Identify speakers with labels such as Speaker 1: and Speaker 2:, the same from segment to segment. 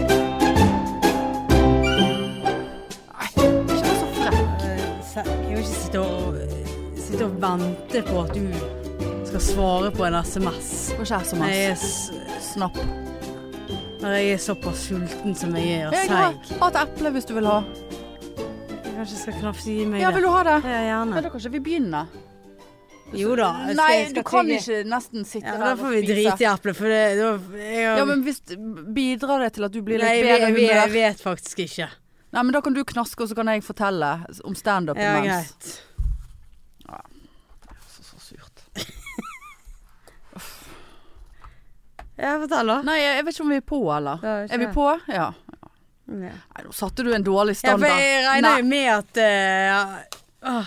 Speaker 1: Eh, vente på at du skal svare på en SMS.
Speaker 2: Og kjæreste
Speaker 1: Når jeg
Speaker 2: hans.
Speaker 1: er, s-
Speaker 2: Snapp.
Speaker 1: når jeg er såpass sulten som jeg er og
Speaker 2: Jeg har,
Speaker 1: seig.
Speaker 2: har et eple hvis du vil ha.
Speaker 1: Jeg Kanskje skal knapse gi meg
Speaker 2: Ja, vil
Speaker 1: det.
Speaker 2: du ha det?
Speaker 1: Ja,
Speaker 2: Nei,
Speaker 1: gjerne.
Speaker 2: da kan ikke vi begynne.
Speaker 1: Jo da. jeg skal-
Speaker 2: Nei,
Speaker 1: jeg
Speaker 2: du
Speaker 1: skal
Speaker 2: kan
Speaker 1: tygge.
Speaker 2: ikke nesten sitte
Speaker 1: Ja,
Speaker 2: her
Speaker 1: da
Speaker 2: og
Speaker 1: får vi
Speaker 2: spise.
Speaker 1: drite i eplet, for det da- jeg, har-
Speaker 2: Ja, men hvis, bidrar det til at du blir litt
Speaker 1: Nei,
Speaker 2: bedre
Speaker 1: jeg, jeg, jeg
Speaker 2: humør?
Speaker 1: vet faktisk ikke.
Speaker 2: Nei, men da kan du knaske, og så kan jeg fortelle om standup
Speaker 1: Ja,
Speaker 2: imens.
Speaker 1: greit.
Speaker 2: Så, så surt.
Speaker 1: Ja, fortell, da.
Speaker 2: Nei, jeg, jeg vet ikke om vi er på, eller?
Speaker 1: Ja, ikke
Speaker 2: Er vi
Speaker 1: jeg.
Speaker 2: på? Ja.
Speaker 1: Ja.
Speaker 2: Nei, nå satte du en dårlig
Speaker 1: Ja, for
Speaker 2: standard.
Speaker 1: jeg regner jo med at uh,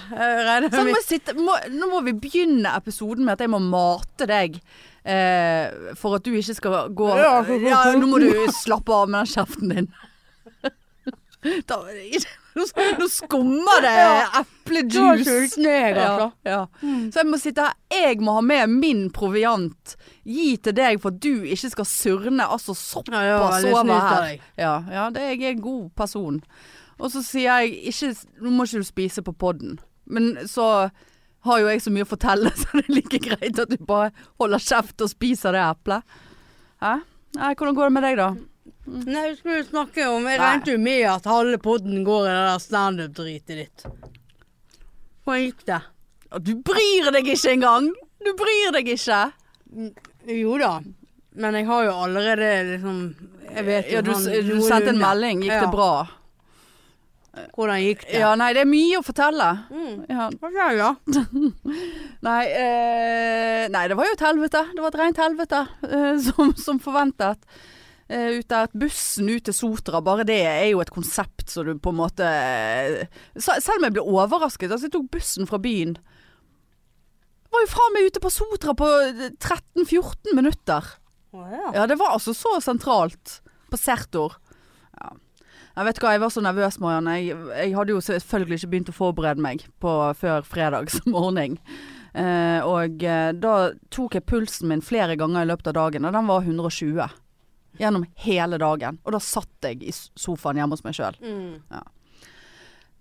Speaker 1: Jeg regner
Speaker 2: Sånn,
Speaker 1: med
Speaker 2: må jeg sitte, må, nå må vi begynne episoden med at jeg må mate deg. Eh, for at du ikke skal gå
Speaker 1: Ja, for-
Speaker 2: Ja, Nå må du slappe av med den kjeften din. Da, nå, nå skummer det
Speaker 1: Ja.
Speaker 2: eplejuice.
Speaker 1: jeg, Mm.
Speaker 2: Ja, ja. Så jeg må sitte her Jeg må ha med min proviant. Gi til deg for at du ikke skal surne. Altså
Speaker 1: Ja, det
Speaker 2: såpass
Speaker 1: var
Speaker 2: over
Speaker 1: veldig snilt av
Speaker 2: her.
Speaker 1: deg.
Speaker 2: Ja, ja det, jeg er en god person. Og så sier jeg ikke Nå må ikke du spise på podden. Men så har jo jeg så mye å fortelle, så det er like greit at du bare holder kjeft og spiser det eplet. Hæ? Nei, hvordan går det med deg, da?
Speaker 1: Nei, vi skulle jo snakke om Jeg
Speaker 2: Nei.
Speaker 1: regnet jo med at halve podden går i det der standup-dritet ditt. Hvordan gikk det?
Speaker 2: Å, Du bryr deg ikke engang! Du bryr deg ikke!
Speaker 1: Jo da. Men jeg har jo allerede liksom Jeg vet jo
Speaker 2: Ja, du,
Speaker 1: han-
Speaker 2: du sendte en
Speaker 1: noenlunde.
Speaker 2: melding. Gikk
Speaker 1: ja.
Speaker 2: det bra?
Speaker 1: Hvordan gikk det?
Speaker 2: Ja, nei, det er mye å fortelle.
Speaker 1: Mm.
Speaker 2: Ja.
Speaker 1: Hva skjer da?
Speaker 2: Nei, eh, nei, det var jo et helvete. Det var et rent helvete, eh, som, som forventet. Eh, ut av at bussen ut til Sotra, bare det er jo et konsept så du på en måte Sa- Selv om jeg ble overrasket. Altså, jeg tok bussen fra byen. Var jo faen meg ute på Sotra på 13-14 minutter.
Speaker 1: Å, ja.
Speaker 2: Ja, det var altså så sentralt på Sertor. Ja. Jeg vet hva, jeg var så nervøs, Marianne. Jeg, jeg hadde jo selvfølgelig ikke begynt å forberede meg på før fredags morgen. Eh, og eh, da tok jeg pulsen min flere ganger i løpet av dagen, og den var 120. Gjennom hele dagen. Og da satt jeg i s- sofaen hjemme hos meg sjøl.
Speaker 1: Mm.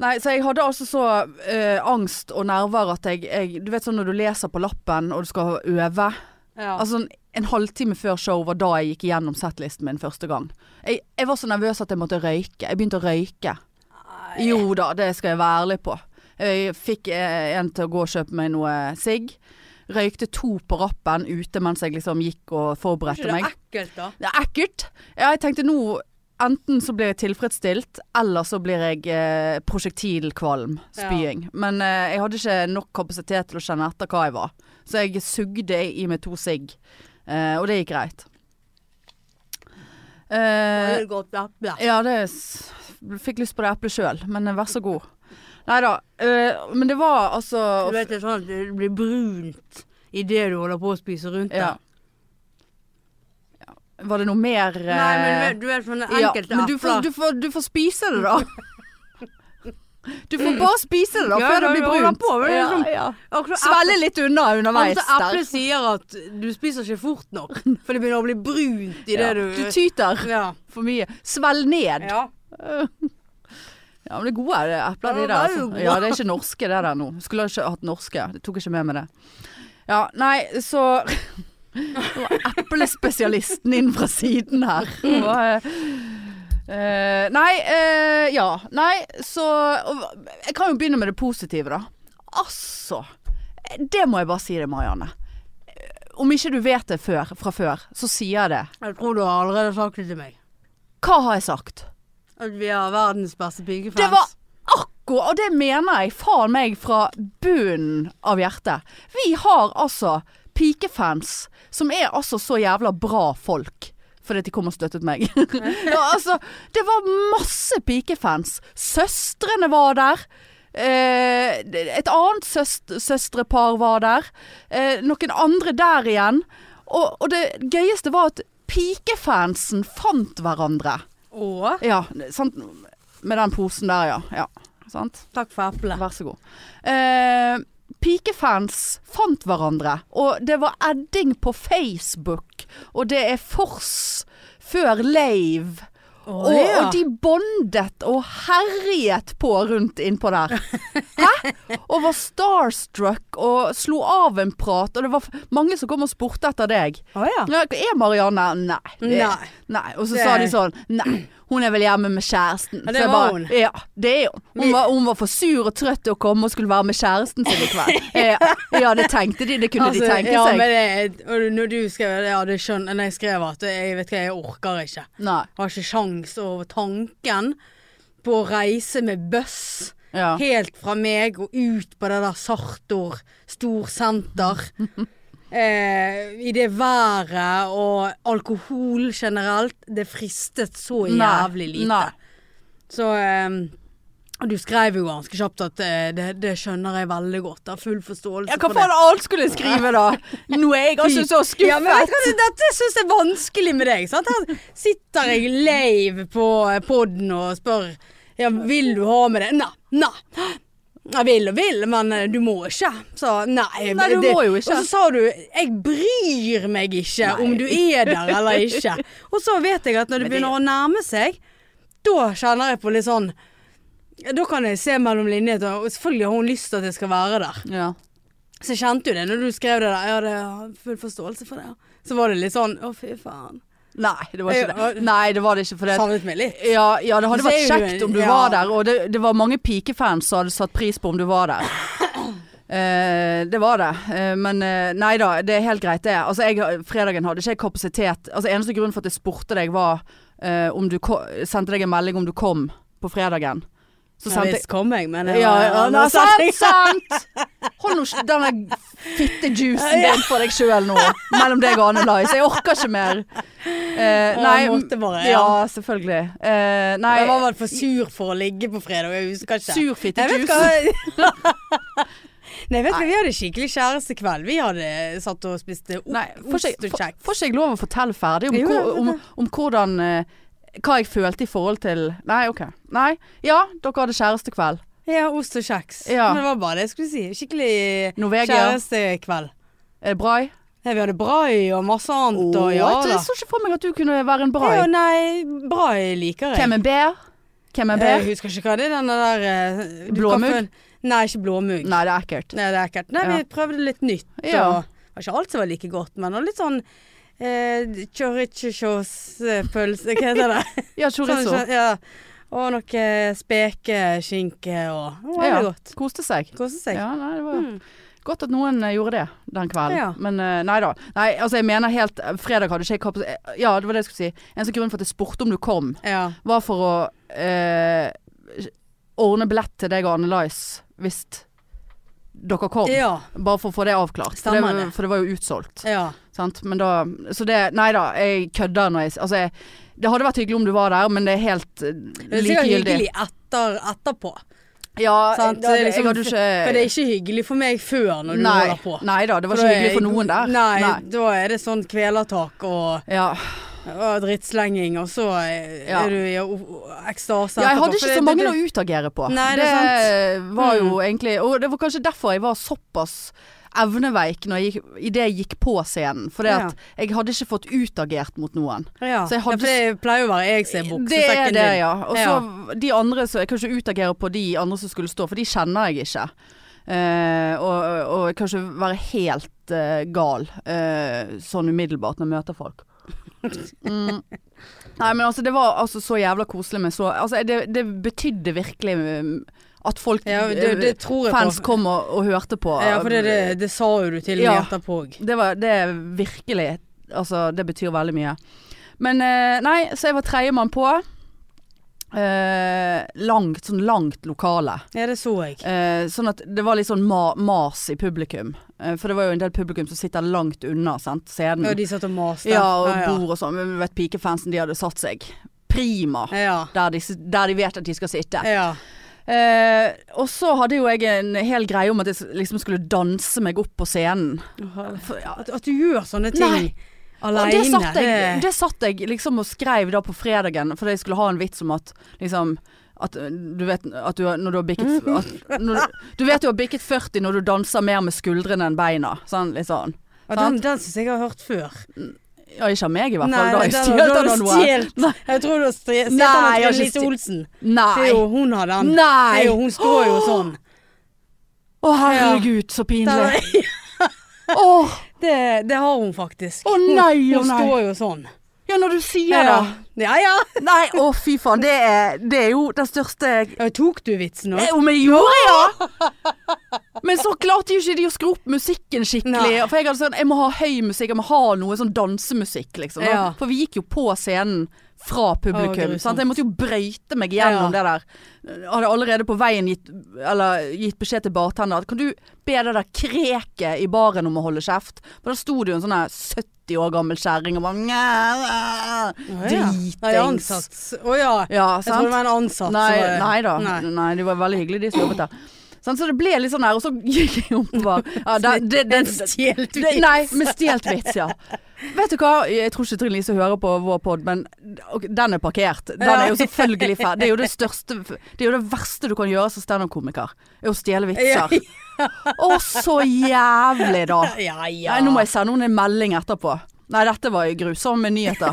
Speaker 2: Nei, så jeg hadde altså så eh, angst og nerver at jeg, jeg Du vet sånn når du leser på lappen og du skal øve.
Speaker 1: ja.
Speaker 2: Altså en, en halvtime før show var da jeg gikk gjennom settlisten min første gang. Jeg, jeg var så nervøs at jeg måtte røyke. Jeg begynte å røyke. Jo da, det skal jeg være ærlig på. Jeg fikk eh, en til å gå og kjøpe meg noe sigg. Røykte to på rappen ute mens jeg liksom gikk og
Speaker 1: ikke
Speaker 2: forberedte
Speaker 1: det
Speaker 2: meg.
Speaker 1: ekkelt, da?
Speaker 2: Det er ekkelt. Ja, jeg tenkte nå Enten så blir jeg tilfredsstilt, eller så blir jeg eh, prosjektilkvalm. Spying. Men eh, jeg hadde ikke nok kapasitet til å kjenne etter hva jeg var. Så jeg sugde i meg to sigg. Eh, og det gikk greit. Eh,
Speaker 1: Veldig godt eple.
Speaker 2: ja, det s- fikk lyst på det eplet sjøl, men eh, vær så god. Nei da. eh, men det var altså
Speaker 1: Du vet det er sånn at det blir brunt idet du holder på å spise rundt det.
Speaker 2: ja. Ja. Var det noe mer
Speaker 1: Nei, men
Speaker 2: eh,
Speaker 1: vet- du vet sånne
Speaker 2: Ja,
Speaker 1: enkelte
Speaker 2: men du får, du, får, du får spise det, da. Du får bare spise det, da,
Speaker 1: Ja,
Speaker 2: før
Speaker 1: ja,
Speaker 2: det blir
Speaker 1: ja, holder
Speaker 2: brunt.
Speaker 1: på, men det er liksom-
Speaker 2: ja.
Speaker 1: Akkurat
Speaker 2: Svelge litt unna underveis.
Speaker 1: Altså,
Speaker 2: der.
Speaker 1: eplet sier at du spiser ikke fort nok, for det begynner å bli brunt i det
Speaker 2: Ja.
Speaker 1: du
Speaker 2: Du tyter
Speaker 1: Ja.
Speaker 2: for mye. Svelg ned. Ja,
Speaker 1: ja.
Speaker 2: men det er gode det er epler,
Speaker 1: Ja,
Speaker 2: de
Speaker 1: det
Speaker 2: der.
Speaker 1: er jo
Speaker 2: Altså.
Speaker 1: gode.
Speaker 2: Ja, det er ikke norske, det der nå. Skulle ikke hatt norske. Jeg tok ikke med meg det. Ja, nei, så Det var eplespesialisten inn fra siden her. Det var, eh, eh, nei, eh, ja. Nei, så og, Jeg kan jo begynne med det positive, da. Altså. Det må jeg bare si deg, Marianne. Om ikke du vet det før, fra før, så sier jeg det.
Speaker 1: Jeg tror du har allerede sagt det til meg.
Speaker 2: Hva har jeg sagt?
Speaker 1: At vi har verdens beste pigefans.
Speaker 2: Det var akkurat, og det mener jeg faen meg fra bunnen av hjertet. Vi har altså pikefans som er altså så jævla bra folk. Fordi at de kom og støttet meg. ja, altså, det var masse pikefans. Søstrene var der. Eh, et annet søst søstrepar var der. Eh, noen andre der igjen. Og, og det gøyeste var at pikefansen fant hverandre.
Speaker 1: Å,
Speaker 2: Ja, sant? Med den posen der, ja. ja. Sant?
Speaker 1: takk for eplet.
Speaker 2: Vær så god. Eh, pikefans fant hverandre, og det var adding på Facebook, og det er Fors før Lave,
Speaker 1: Å,
Speaker 2: Og,
Speaker 1: ja.
Speaker 2: og de bondet og herjet på rundt innpå der. Hæ? Og var starstruck og slo av en prat, og det var f- mange som kom og spurte etter deg.
Speaker 1: Å, ja.
Speaker 2: Ja, er Marianne? Nei. det-
Speaker 1: Nei.
Speaker 2: nei. Og så
Speaker 1: Det-
Speaker 2: sa de sånn Nei, hun er vel hjemme med kjæresten.
Speaker 1: Ja,
Speaker 2: Så
Speaker 1: det
Speaker 2: jeg
Speaker 1: var hun.
Speaker 2: Ja, det er hun.
Speaker 1: Vi-
Speaker 2: Hun var, hun var for sur og trøtt til å komme og skulle være med kjæresten sin i kveld. Ja, ja det tenkte de. Det kunne de
Speaker 1: Altså,
Speaker 2: tenke
Speaker 1: ja,
Speaker 2: seg.
Speaker 1: men det, og når du skrev det, ja, det skjønner Når jeg skrev at jeg vet hva, jeg orker ikke.
Speaker 2: Nei.
Speaker 1: Jeg har ikke sjans over tanken på å reise med buss
Speaker 2: Ja.
Speaker 1: helt fra meg og ut på det der Sartor storsenter. eh, I det været og alkohol generelt. Det fristet så jævlig lite.
Speaker 2: Nei.
Speaker 1: Så eh, og du skrev jo ganske kjapt at eh, det, det skjønner jeg veldig godt. Jeg har full forståelse
Speaker 2: Ja, hva
Speaker 1: for det.
Speaker 2: faen annet skulle jeg skrive da? Nå er jeg altså så
Speaker 1: Ja, men
Speaker 2: skuffet.
Speaker 1: vet du hva, det- dette syns jeg er vanskelig med deg. Sant? Her sitter jeg lave på poden og spør ja, vil du ha med det. Nei. Nei. Jeg vil og vil, men eh, du må ikke. Så nei.
Speaker 2: Nei, du
Speaker 1: det-
Speaker 2: må jo ikke.
Speaker 1: Og så sa du 'jeg bryr meg ikke om du er der eller ikke'. Og så vet jeg at når
Speaker 2: Men det-
Speaker 1: det begynner å nærme seg, da kjenner jeg på litt sånn Da kan jeg se mellom linjene, og selvfølgelig har hun lyst til at jeg skal være der.
Speaker 2: Ja.
Speaker 1: Så jeg kjente jo det når du skrev det der. Jeg hadde full forståelse for det. ja. Så var det litt sånn å, fy faen.
Speaker 2: Nei, det var ikke
Speaker 1: Ja.
Speaker 2: det. Nei, det var det ikke. For det,
Speaker 1: Savnet meg litt.
Speaker 2: ja, ja, det hadde
Speaker 1: Så
Speaker 2: vært
Speaker 1: er jo du-
Speaker 2: kjekt om du
Speaker 1: ja.
Speaker 2: var der, og det, det var mange pikefans som hadde satt pris på om du var der. Eh, det var det, Eh, men eh, nei da, det er helt greit det. Altså, jeg, fredagen hadde ikke jeg kapasitet. Altså, eneste grunnen for at jeg spurte deg var eh, om du ko sendte deg en melding om du kom på fredagen. Så
Speaker 1: Ja
Speaker 2: sendte jeg
Speaker 1: visst kom jeg, men
Speaker 2: Ja,
Speaker 1: jeg var- sånn-
Speaker 2: ja, nei,
Speaker 1: men så-
Speaker 2: sant, sant! Hold nå ikke den der fittejuicen din for deg sjøl nå, mellom deg og Anne Lice. Jeg orker ikke mer. Eh,
Speaker 1: Ja,
Speaker 2: nei,
Speaker 1: måtte bare,
Speaker 2: ja.
Speaker 1: ja.
Speaker 2: selvfølgelig. Eh, nei,
Speaker 1: Jeg var vel for sur for å ligge på fredag, jeg husker ikke.
Speaker 2: sur
Speaker 1: Jeg vet
Speaker 2: fittejuice.
Speaker 1: hva Nei, vet du, vi hadde skikkelig kjærestekveld. Vi hadde satt og spiste ost
Speaker 2: Nei, får ikke
Speaker 1: og
Speaker 2: jeg- får-
Speaker 1: kjeks.
Speaker 2: får ikke jeg lov å fortelle ferdig om,
Speaker 1: Jo,
Speaker 2: hvor-
Speaker 1: ja,
Speaker 2: om, om hvordan eh, Hva jeg følte i forhold til Nei, OK. Nei. Ja, dere hadde kjærestekveld.
Speaker 1: Ja, ost og kjeks.
Speaker 2: Ja.
Speaker 1: Men det var bare det jeg skulle si. Skikkelig
Speaker 2: Norvegia.
Speaker 1: kjærestekveld.
Speaker 2: Er det brai?
Speaker 1: Nei, Vi hadde brai og masse
Speaker 2: Å,
Speaker 1: annet. Og ja
Speaker 2: jeg
Speaker 1: da.
Speaker 2: så ikke for meg at du kunne være en
Speaker 1: Ja,
Speaker 2: brai.
Speaker 1: nei, brai liker jeg.
Speaker 2: Hvem er bær? Hvem er
Speaker 1: Jeg
Speaker 2: bær?
Speaker 1: husker ikke hva det er denne der eh, du
Speaker 2: Blåmugg?
Speaker 1: kan få- Nei, ikke blåmugg. Nei.
Speaker 2: Nei, det er ekkelt.
Speaker 1: det er ekkelt. Nei, vi prøvde litt nytt.
Speaker 2: Ja.
Speaker 1: Og, det var ikke alt som var like godt, men og litt sånn eh, Chorichos-pølse, hva heter det?
Speaker 2: Ja,
Speaker 1: Sånn,
Speaker 2: chorizo.
Speaker 1: sånn, ja. Og noe spekeskinke og Det var
Speaker 2: Ja,
Speaker 1: veldig godt.
Speaker 2: Koste seg.
Speaker 1: Koste seg.
Speaker 2: Ja, nei, det var
Speaker 1: Mm.
Speaker 2: godt at noen eh, gjorde det den kvelden.
Speaker 1: Ja.
Speaker 2: Men eh, nei da. Nei, altså jeg mener helt eh, Fredag hadde ikke jeg kapas- eh, Ja, det var det jeg skulle si. Eneste grunn for at jeg spurte om du kom,
Speaker 1: Ja.
Speaker 2: var for å eh, ordne billett til deg og Anne Lice hvis dere kom.
Speaker 1: ja.
Speaker 2: Bare for å få det avklart. For
Speaker 1: Stemmer
Speaker 2: det,
Speaker 1: det.
Speaker 2: for det var jo utsolgt.
Speaker 1: ja.
Speaker 2: Sant? Men da Så det Nei da, jeg kødder når jeg s- Altså, jeg, det hadde vært hyggelig om du var der, men det er helt eh,
Speaker 1: Det er sikkert
Speaker 2: likegyldig.
Speaker 1: hyggelig etter, etterpå.
Speaker 2: Ja,
Speaker 1: Sant?
Speaker 2: jeg, jeg,
Speaker 1: liksom-
Speaker 2: hadde jo ikke
Speaker 1: For det er ikke hyggelig for meg før når du
Speaker 2: Eh. nei,
Speaker 1: holder på.
Speaker 2: nei da, det var
Speaker 1: da
Speaker 2: ikke
Speaker 1: er-
Speaker 2: hyggelig for noen der.
Speaker 1: Nei, da er det sånn kvelertak og,
Speaker 2: Ja.
Speaker 1: og drittslenging, og så er,
Speaker 2: Ja.
Speaker 1: er du i o- o- ekstase.
Speaker 2: ja, jeg hadde
Speaker 1: etterpå, for
Speaker 2: ikke
Speaker 1: det-
Speaker 2: så mange å
Speaker 1: det-
Speaker 2: utagere på.
Speaker 1: Nei, det er Mm.
Speaker 2: var jo egentlig Og det var kanskje derfor jeg var såpass evneveik når jeg gikk, i det jeg gikk på scenen. For
Speaker 1: Ja.
Speaker 2: jeg hadde ikke fått utagert mot noen.
Speaker 1: Ja.
Speaker 2: så jeg hadde-
Speaker 1: ja, for det pleier jo å være jeg som er
Speaker 2: Det
Speaker 1: buksesekken
Speaker 2: er det,
Speaker 1: din.
Speaker 2: ja. Og så de andre som Jeg kan ikke utagere på de andre som skulle stå, for de kjenner jeg ikke. Eh, og, og jeg kan ikke være helt eh, gal eh, sånn umiddelbart når jeg møter folk. Mm. Nei, men altså, det var altså så jævla koselig med så Altså, det, det betydde virkelig mm, at folk eh,
Speaker 1: Ja, det, det tror jeg
Speaker 2: Fans
Speaker 1: på.
Speaker 2: kom og, og hørte på.
Speaker 1: Ja, for det, det, det sa jo du til meg
Speaker 2: Ja.
Speaker 1: etterpå òg.
Speaker 2: Det var det er virkelig Altså, det betyr veldig mye. Men eh, nei, så jeg var tredjemann på. Eh, langt, sånn langt lokale.
Speaker 1: Ja, det så jeg.
Speaker 2: Eh, sånn at det var litt sånn ma mas i publikum. Eh, for det var jo en del publikum som sitter langt unna sant, scenen.
Speaker 1: Ja, de satt og maste.
Speaker 2: Mm. Ja, og
Speaker 1: ja.
Speaker 2: bord og sånn. Men du vet pikefansen, de hadde satt seg prima
Speaker 1: Ja.
Speaker 2: der de, s- der de vet at de skal sitte.
Speaker 1: ja.
Speaker 2: Eh, og så hadde jo jeg en hel greie om at jeg s- liksom skulle danse meg opp på scenen. For, ja,
Speaker 1: At, at du gjør sånne ting
Speaker 2: Nei. Og
Speaker 1: aleine.
Speaker 2: det satt, jeg, det satt jeg liksom og skrev da på fredagen, fordi jeg skulle ha en vits om at liksom at øh, du vet at du, har- når du har bikket
Speaker 1: Mhm.
Speaker 2: at, når du, du vet du har bikket 40 når du danser mer med skuldrene enn beina. Sånn, litt sånn.
Speaker 1: Ja, den den syns jeg jeg har hørt før.
Speaker 2: Ja, ikke av meg i hvert
Speaker 1: Nei,
Speaker 2: fall. da har jeg
Speaker 1: den-
Speaker 2: stjålet
Speaker 1: den har
Speaker 2: den
Speaker 1: du
Speaker 2: av noen.
Speaker 1: stjålet.
Speaker 2: Nei.
Speaker 1: Jeg tror du har stri- sett den
Speaker 2: Nei,
Speaker 1: av
Speaker 2: jeg har
Speaker 1: Trine
Speaker 2: ikke
Speaker 1: Lise
Speaker 2: sti-
Speaker 1: Olsen. Det er
Speaker 2: Nei.
Speaker 1: jo hun har den. Det
Speaker 2: Nei.
Speaker 1: er jo, hun står jo sånn.
Speaker 2: Å, herregud, så
Speaker 1: Den,
Speaker 2: pinlig. Åh,
Speaker 1: det, det har hun faktisk.
Speaker 2: Å, nei, å,
Speaker 1: hun, hun
Speaker 2: nei.
Speaker 1: står jo sånn.
Speaker 2: ja, når du sier det.
Speaker 1: ja ja.
Speaker 2: Nei, å fy faen. Det er, det er jo den største
Speaker 1: Ja, Tok du vitsen nå?
Speaker 2: Eh, Om jeg gjorde, ja! Men så klarte jo ikke de å skru opp musikken skikkelig.
Speaker 1: Nei.
Speaker 2: For jeg hadde sånn, jeg må ha høy musikk, jeg må ha noe sånn dansemusikk, liksom. da.
Speaker 1: Ja.
Speaker 2: For vi gikk jo på scenen fra
Speaker 1: Å,
Speaker 2: publikum.
Speaker 1: grusomt.
Speaker 2: sant? Jeg måtte jo brøyte meg gjennom det der. Jeg hadde allerede på veien gitt, eller, gitt beskjed til bartender at kan du be det der kreket i baren om å holde kjeft? For da sto det jo en sånn her 70 år gammel kjerring og bare "Nja,
Speaker 1: Å, ja. Nei,
Speaker 2: Dritings.
Speaker 1: ansatt. Å ja.
Speaker 2: Ja,
Speaker 1: Jeg tror det var en ansatt.
Speaker 2: Nei,
Speaker 1: som var-
Speaker 2: nei da.
Speaker 1: Nei.
Speaker 2: Nei. de var veldig hyggelige, de som jobbet der. Sånn, så det ble litt sånn der, og så gikk jeg opp og bare ja, det, det, det,
Speaker 1: Den stjålet
Speaker 2: det, Nei, med stjålet vits, ja. Vet du hva, jeg tror ikke Trine Lise hører på vår pod, men ok, den er parkert. Den er jo selvfølgelig fæl. Det er jo det største Det er jo det verste du kan gjøre som standup-komiker. Er å stjele vitser. Å, så jævlig, da.
Speaker 1: Ja ja.
Speaker 2: Nei, nå må jeg sende henne en melding etterpå. Nei, dette var grusomme nyheter.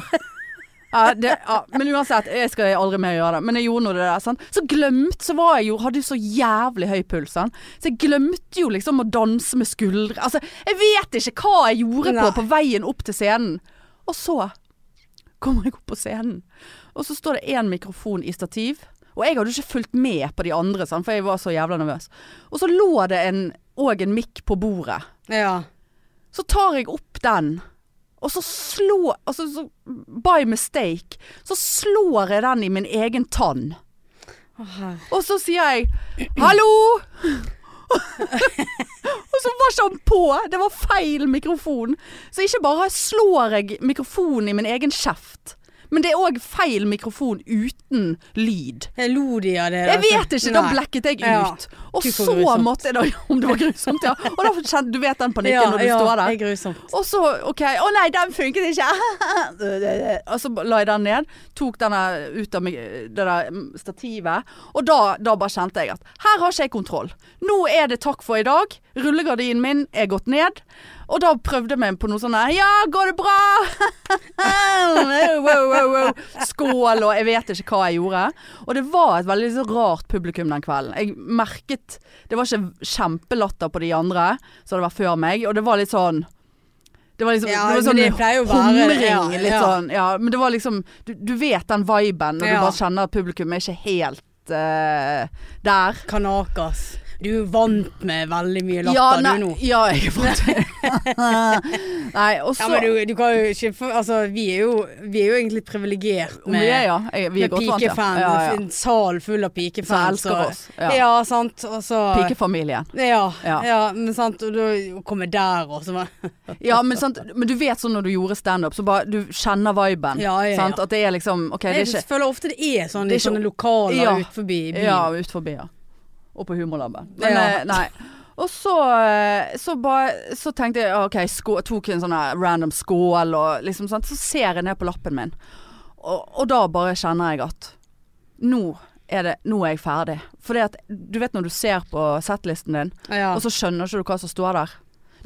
Speaker 2: Ja, det, ja, men uansett, jeg skal aldri mer gjøre det. Men jeg gjorde nå det der. Sant? Så glemt så var jeg jo Hadde jo så jævlig høy puls. Sant? Så jeg glemte jo liksom å danse med skuldre Altså, jeg vet ikke hva jeg gjorde på
Speaker 1: Nei.
Speaker 2: på veien opp til scenen. Og så kommer jeg opp på scenen, og så står det én mikrofon i stativ. Og jeg hadde jo ikke fulgt med på de andre, sant? for jeg var så jævla nervøs. Og så lå det en, og en mikk på bordet.
Speaker 1: Ja.
Speaker 2: Så tar jeg opp den, og så slår altså, så, By mistake. Så slår jeg den i min egen tann. Og så sier jeg 'hallo'. og så var ikke han på! Det var feil mikrofon. Så ikke bare slår jeg mikrofonen i min egen kjeft, men det er òg feil mikrofon uten lyd.
Speaker 1: Jeg lo de av det.
Speaker 2: Jeg
Speaker 1: altså.
Speaker 2: vet ikke, da
Speaker 1: Nei.
Speaker 2: blekket jeg
Speaker 1: Ja.
Speaker 2: ut. Og
Speaker 1: Gud, så
Speaker 2: så
Speaker 1: grusomt.
Speaker 2: måtte jeg da Om det var grusomt, ja. Og da kjente du vet den panikken
Speaker 1: Ja,
Speaker 2: når du
Speaker 1: ja,
Speaker 2: står der.
Speaker 1: Det er grusomt.
Speaker 2: Og så, ok, å nei, den funket ikke. og så la jeg den ned, tok denne ut av meg- det der mm, stativet, og da, da bare kjente jeg at her har ikke jeg kontroll. Nå er det takk for i dag. Rullegardinen min er gått ned. Og da prøvde vi på noe sånn her, Ja, går det bra? Wow, wow, wow. Skål og jeg vet ikke hva jeg gjorde. Og det var et veldig så rart publikum den kvelden. Jeg merket Det var ikke kjempelatter på de andre som hadde vært før meg, og det var litt sånn det var liksom det
Speaker 1: Ja,
Speaker 2: var
Speaker 1: men
Speaker 2: sånn
Speaker 1: det pleier jo å være det, ja,
Speaker 2: humring, litt
Speaker 1: ja.
Speaker 2: sånn. Ja, men det var liksom Du, du vet den viben når
Speaker 1: Ja.
Speaker 2: du bare kjenner at publikum er ikke helt eh, der.
Speaker 1: Kanakas. Du er jo vant med veldig mye latter
Speaker 2: ja, nei,
Speaker 1: du nå.
Speaker 2: ja, jeg er vant til det. Nei, og
Speaker 1: Ja,
Speaker 2: så
Speaker 1: men du, du kan jo ikke for- Altså, vi er jo, vi er jo egentlig privilegert med,
Speaker 2: Vi er, ja. Jeg, vi er
Speaker 1: med
Speaker 2: godt vant,
Speaker 1: pikefans.
Speaker 2: Ja, ja, ja.
Speaker 1: En sal full av
Speaker 2: Som
Speaker 1: pikefans.
Speaker 2: elsker
Speaker 1: og-
Speaker 2: oss.
Speaker 1: Ja,
Speaker 2: Ja.
Speaker 1: sant. Og så
Speaker 2: Pikefamilien.
Speaker 1: Ja, ja.
Speaker 2: Ja.
Speaker 1: men sant. Og du kommer der og så bare
Speaker 2: Ja, men, sant, men du vet sånn når du gjorde standup, så bare du kjenner viben.
Speaker 1: Ja, ja, ja.
Speaker 2: Sant? At det er liksom OK, det er
Speaker 1: Jeg
Speaker 2: ikke
Speaker 1: føler ofte det er sånn
Speaker 2: Det
Speaker 1: i
Speaker 2: er ikke-
Speaker 1: sånne lokaler
Speaker 2: Ja.
Speaker 1: ut forbi i byen.
Speaker 2: Ja, ut forbi, ja. Og på Humorlaben. Men
Speaker 1: Ja.
Speaker 2: eh, nei. Og så, eh, så, bare, så tenkte jeg OK, skå, tok en sånn her random skål og liksom sånn. Så ser jeg ned på lappen min, og, og da bare kjenner jeg at nå er, det, nå er jeg ferdig. For at du vet når du ser på settlisten din,
Speaker 1: Ja. Ah.
Speaker 2: og så skjønner ikke du hva som står der.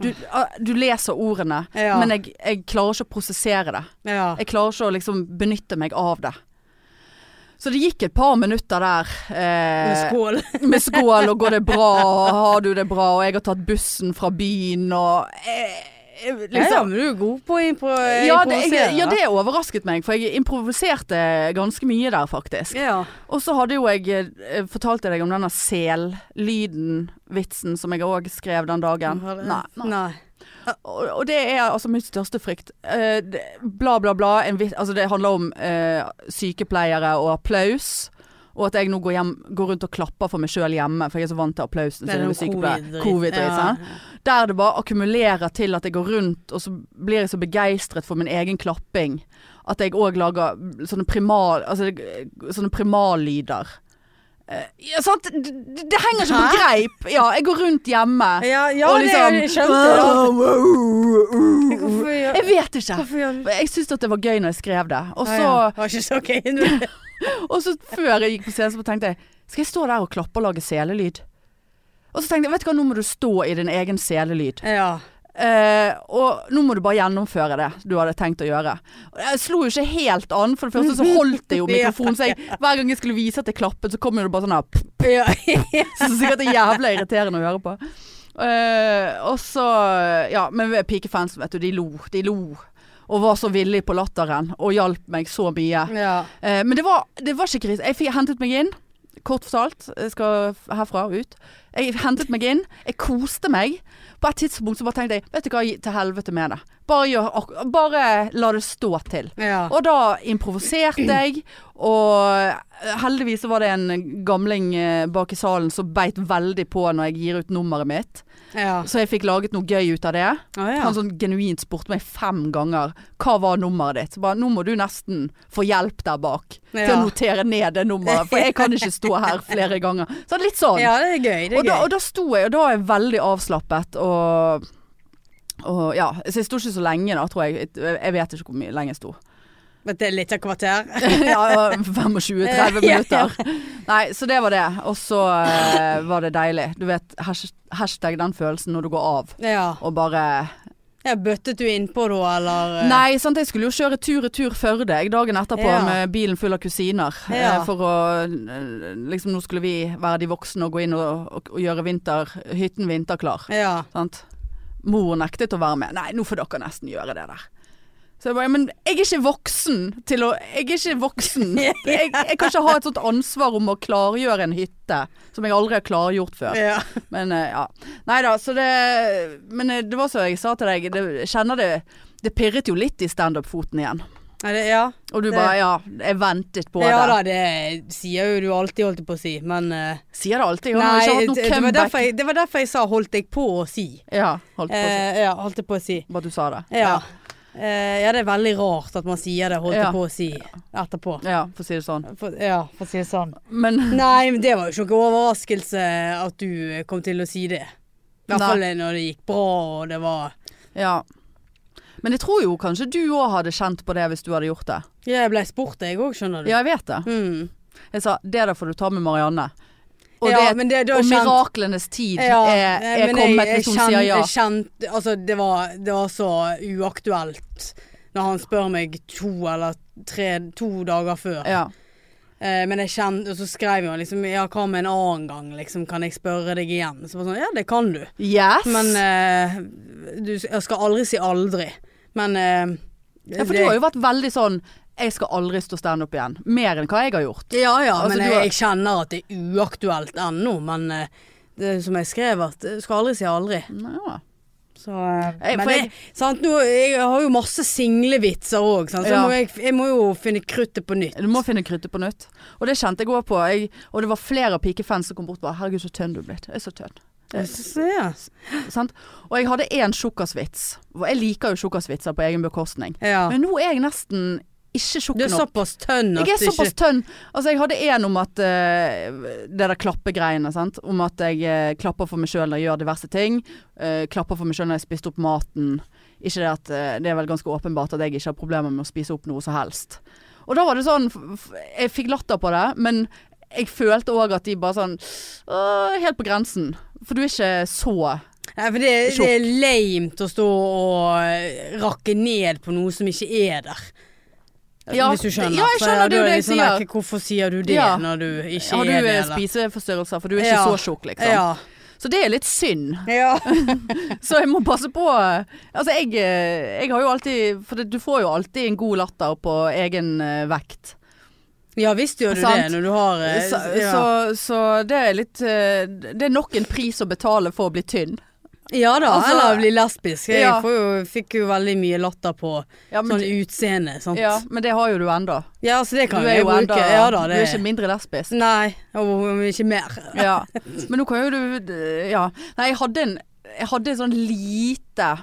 Speaker 2: Du, ah, du leser ordene,
Speaker 1: Ja. Ah.
Speaker 2: men jeg, jeg klarer ikke å prosessere det.
Speaker 1: ja.
Speaker 2: Jeg klarer ikke å liksom benytte meg av det. Så det gikk et par minutter der.
Speaker 1: Med
Speaker 2: Eh,
Speaker 1: skål.
Speaker 2: med skål og går det bra, og har du det bra, og jeg har tatt bussen fra byen og eh, eh,
Speaker 1: Ja, ja,
Speaker 2: liksom.
Speaker 1: men du er god på å impro
Speaker 2: Ja, det,
Speaker 1: improvisere.
Speaker 2: jeg, ja, det overrasket meg, for jeg improviserte ganske mye der, faktisk.
Speaker 1: ja.
Speaker 2: Og så hadde jo jeg eh, fortalte deg om denne sellyden-vitsen som jeg òg skrev den dagen. Nei, nei.
Speaker 1: Nei.
Speaker 2: Og, og det er altså min største frykt. Eh, det, bla, bla, bla. En, vit- altså det handler om eh, sykepleiere og applaus. Og at jeg nå går, hjem, går rundt og klapper for meg sjøl hjemme, for jeg er så vant til applausen.
Speaker 1: Det er
Speaker 2: som
Speaker 1: noe
Speaker 2: ved sykepleier.
Speaker 1: covid-dritt.
Speaker 2: covid
Speaker 1: Ja.
Speaker 2: Der det bare akkumulerer til at jeg går rundt, og så blir jeg så begeistret for min egen klapping at jeg òg lager sånne, primal, altså, sånne primallyder. Eh, ja, sant? Det, det- det henger ikke på
Speaker 1: Hæ?
Speaker 2: greip. Ja, jeg går rundt hjemme.
Speaker 1: Ja, ja
Speaker 2: Og liksom-
Speaker 1: det, jeg skjønte det. da.
Speaker 2: Hvorfor-
Speaker 1: liksom, Hvorfor
Speaker 2: Jeg
Speaker 1: gjør
Speaker 2: vet ikke.
Speaker 1: Hvorfor gjør du det?
Speaker 2: Jeg syntes at det var gøy når jeg skrev det. Og
Speaker 1: Ah, ja.
Speaker 2: så,
Speaker 1: Det var ikke så gøy nå.
Speaker 2: og så før jeg gikk på scenen, så tenkte jeg Skal jeg stå der og klappe og lage selelyd? Og så tenkte jeg, vet du hva, nå må du stå i din egen selelyd.
Speaker 1: Ja.
Speaker 2: Eh, og nå må du bare gjennomføre det du hadde tenkt å gjøre. Og Jeg slo jo ikke helt an. For det første så holdt jeg jo mikrofonen, så jeg, hver gang jeg skulle vise at jeg klappet, så kom jo det bare sånn her pff,
Speaker 1: Ja.
Speaker 2: Så sikkert er jævla irriterende å høre på. Eh, og så Ja, men pikefans, vet du, de lo. De lo. Og var så villig på latteren, og hjalp meg så mye.
Speaker 1: ja.
Speaker 2: Eh, men det var, det var ikke krise. Jeg fikk hentet meg inn. Kort fortalt. Jeg skal f- herfra og ut. Jeg hentet meg inn. Jeg koste meg. På et tidspunkt så bare tenkte jeg Vet du hva, gi- til helvete med det. Bare, gjør, ak- bare la det stå til.
Speaker 1: ja.
Speaker 2: Og da improviserte jeg, og heldigvis så var det en gamling eh, bak i salen som beit veldig på når jeg gir ut nummeret mitt.
Speaker 1: ja.
Speaker 2: Så jeg fikk laget noe gøy ut av det.
Speaker 1: Å, ja.
Speaker 2: Han sånn genuint spurte meg fem ganger hva var nummeret ditt. Bare, nå må du nesten få hjelp der bak til å
Speaker 1: Ja.
Speaker 2: notere ned det nummeret, for jeg kan ikke stå her flere ganger. Så litt sånn.
Speaker 1: ja, det er gøy. Det er
Speaker 2: og, da,
Speaker 1: gøy.
Speaker 2: og da sto jeg, og da var jeg veldig avslappet og, og ja, så jeg sto ikke så lenge da, tror jeg. Jeg jeg vet ikke hvor mye lenge jeg sto.
Speaker 1: Men det er litt av kvarter.
Speaker 2: ja, 25-30 minutter. Nei, så det var det. Og så eh, var det deilig. Du vet, hasht- hashtag den følelsen når du går av.
Speaker 1: Ja.
Speaker 2: Og bare
Speaker 1: ja bøttet du innpå da, eller? eh?
Speaker 2: Nei, sant, jeg skulle jo kjøre tur-retur Førde jeg, dagen etterpå
Speaker 1: Ja.
Speaker 2: med bilen full av kusiner.
Speaker 1: Ja.
Speaker 2: eh, For å eh, Liksom, nå skulle vi være de voksne og gå inn og, og, og gjøre vinter, hytten vinterklar.
Speaker 1: Ja.
Speaker 2: Sant? Mor nektet å være med. Nei, nå får dere nesten gjøre det der. Så jeg bare, men jeg er ikke voksen til å Jeg er ikke voksen. Jeg, jeg kan ikke ha et sånt ansvar om å klargjøre en hytte som jeg aldri har klargjort før.
Speaker 1: Ja.
Speaker 2: Men eh, ja. Nei da, så det Men eh, det var som jeg sa til deg, det, jeg kjenner det Det pirret jo litt i standup-foten igjen.
Speaker 1: Er det, ja.
Speaker 2: Og du
Speaker 1: Det-
Speaker 2: bare ja, jeg ventet på
Speaker 1: ja
Speaker 2: det.
Speaker 1: da, det sier jo du alltid, holdt jeg på å si, men eh,
Speaker 2: Sier det alltid. Han har
Speaker 1: Nei,
Speaker 2: ikke hatt
Speaker 1: det,
Speaker 2: noe
Speaker 1: det, var
Speaker 2: comeback.
Speaker 1: derfor jeg, det var derfor jeg sa 'holdt jeg på å si'.
Speaker 2: Ja, holdt på å si.
Speaker 1: Eh, ja, holdt jeg på å si.
Speaker 2: Bare at du sa det.
Speaker 1: Ja. Eh, ja, det er veldig rart at man sier det 'holdt jeg
Speaker 2: Ja.
Speaker 1: på å si' etterpå.
Speaker 2: Ja, ja, for å si det sånn.
Speaker 1: For, ja, for å si det sånn.
Speaker 2: Men
Speaker 1: Nei, men det var jo ikke noen overraskelse at du kom til å si det. I hvert
Speaker 2: Nei.
Speaker 1: fall når det gikk bra og det var
Speaker 2: Ja. Men jeg tror jo kanskje du òg hadde kjent på det hvis du hadde gjort det.
Speaker 1: Ja, jeg ble spurt jeg òg, skjønner du.
Speaker 2: Ja, jeg vet det.
Speaker 1: Mm.
Speaker 2: Jeg sa det der får du ta med Marianne. Og,
Speaker 1: ja,
Speaker 2: det,
Speaker 1: men det, det var
Speaker 2: og
Speaker 1: kjent-
Speaker 2: miraklenes tid
Speaker 1: Ja,
Speaker 2: er,
Speaker 1: eh,
Speaker 2: er
Speaker 1: men
Speaker 2: kommet hvis hun
Speaker 1: kjente-
Speaker 2: sier ja.
Speaker 1: jeg kjente- altså, det, var, det var så uaktuelt når han spør meg to eller tre, to dager før.
Speaker 2: ja.
Speaker 1: Eh, men jeg kjente, og så skrev jo han liksom ja, hva med en annen gang, liksom, kan jeg spørre deg igjen? Så bare sånn, ja det kan du.
Speaker 2: Yes!
Speaker 1: Men eh, du, jeg skal aldri si aldri. Men eh,
Speaker 2: ja, for
Speaker 1: det-
Speaker 2: du har jo vært veldig sånn Jeg skal aldri stå standup igjen. Mer enn hva jeg har gjort.
Speaker 1: Ja ja,
Speaker 2: Altså,
Speaker 1: men
Speaker 2: du
Speaker 1: jeg,
Speaker 2: har-
Speaker 1: jeg kjenner at det er uaktuelt ennå. Men eh, det som jeg skrev, at eh, skal aldri si aldri.
Speaker 2: Ja.
Speaker 1: Så, eh,
Speaker 2: Jeg-
Speaker 1: men
Speaker 2: for
Speaker 1: jeg,
Speaker 2: jeg-
Speaker 1: sant, nå, jeg har jo masse singlevitser òg, så
Speaker 2: Ja.
Speaker 1: må jeg, jeg må jo finne kruttet på nytt.
Speaker 2: Du må finne kruttet på nytt. Og det kjente jeg òg på. Jeg, og det var flere pikefans som kom bort og bare 'Herregud, så tønn du er blitt'. Jeg er så tønn.
Speaker 1: Jeg synes det, ja.
Speaker 2: Sant? Og jeg hadde én tjukkasvits. Og Jeg liker jo tjukkasvitser på egen bekostning.
Speaker 1: Ja.
Speaker 2: Men nå er jeg nesten ikke tjukk
Speaker 1: Du er
Speaker 2: nok.
Speaker 1: såpass tønn at
Speaker 2: Jeg er
Speaker 1: du
Speaker 2: såpass
Speaker 1: ikke
Speaker 2: tønn. Altså, jeg hadde en om at eh, Det der klappegreiene, sant. Om at jeg eh, klapper for meg sjøl når jeg gjør diverse ting. eh, klapper for meg sjøl når jeg spiste opp maten. Ikke det at eh, Det er vel ganske åpenbart at jeg ikke har problemer med å spise opp noe som helst. Og da var det sånn f- f- Jeg fikk latter på det, men jeg følte òg at de bare sånn «Åh, Helt på grensen. For du er ikke så
Speaker 1: Nei, for det, det er lamet å stå og eh, rakke ned på noe som ikke er der. Altså,
Speaker 2: Ja,
Speaker 1: Hvis du skjønner.
Speaker 2: ja, jeg
Speaker 1: For
Speaker 2: skjønner, det er jo
Speaker 1: da
Speaker 2: det
Speaker 1: litt
Speaker 2: jeg
Speaker 1: sånn,
Speaker 2: sier.
Speaker 1: like, Hvorfor sier du det
Speaker 2: Ja.
Speaker 1: når du ikke
Speaker 2: Har du
Speaker 1: er det?
Speaker 2: eh,
Speaker 1: eller?
Speaker 2: spiseforstyrrelser? For du er ikke
Speaker 1: Ja.
Speaker 2: så tjukk, liksom. Så det er litt synd.
Speaker 1: Ja. ja.
Speaker 2: Så jeg må passe på Altså jeg, eh, jeg har jo alltid For det, du får jo alltid en god latter på egen eh, vekt.
Speaker 1: ja visst gjør du
Speaker 2: Sant.
Speaker 1: det når du har eh,
Speaker 2: Så,
Speaker 1: ja.
Speaker 2: så, så det er litt eh, Det er nok en pris å betale for å bli tynn.
Speaker 1: ja da,
Speaker 2: altså-
Speaker 1: eller bli lesbisk. Jeg
Speaker 2: Ja.
Speaker 1: får jo, fikk jo veldig mye latter på
Speaker 2: Ja, men,
Speaker 1: sånn utseende. Sant?
Speaker 2: ja, men det har jo du ennå.
Speaker 1: Ja, så det
Speaker 2: Du
Speaker 1: kan
Speaker 2: er
Speaker 1: jeg
Speaker 2: jo
Speaker 1: bruke.
Speaker 2: enda,
Speaker 1: Ja da,
Speaker 2: du er
Speaker 1: det
Speaker 2: ikke mindre lesbisk.
Speaker 1: Nei, og ikke mer.
Speaker 2: Ja. Men nå kan jo du d- Ja. Nei, jeg hadde en, jeg hadde en sånn lite,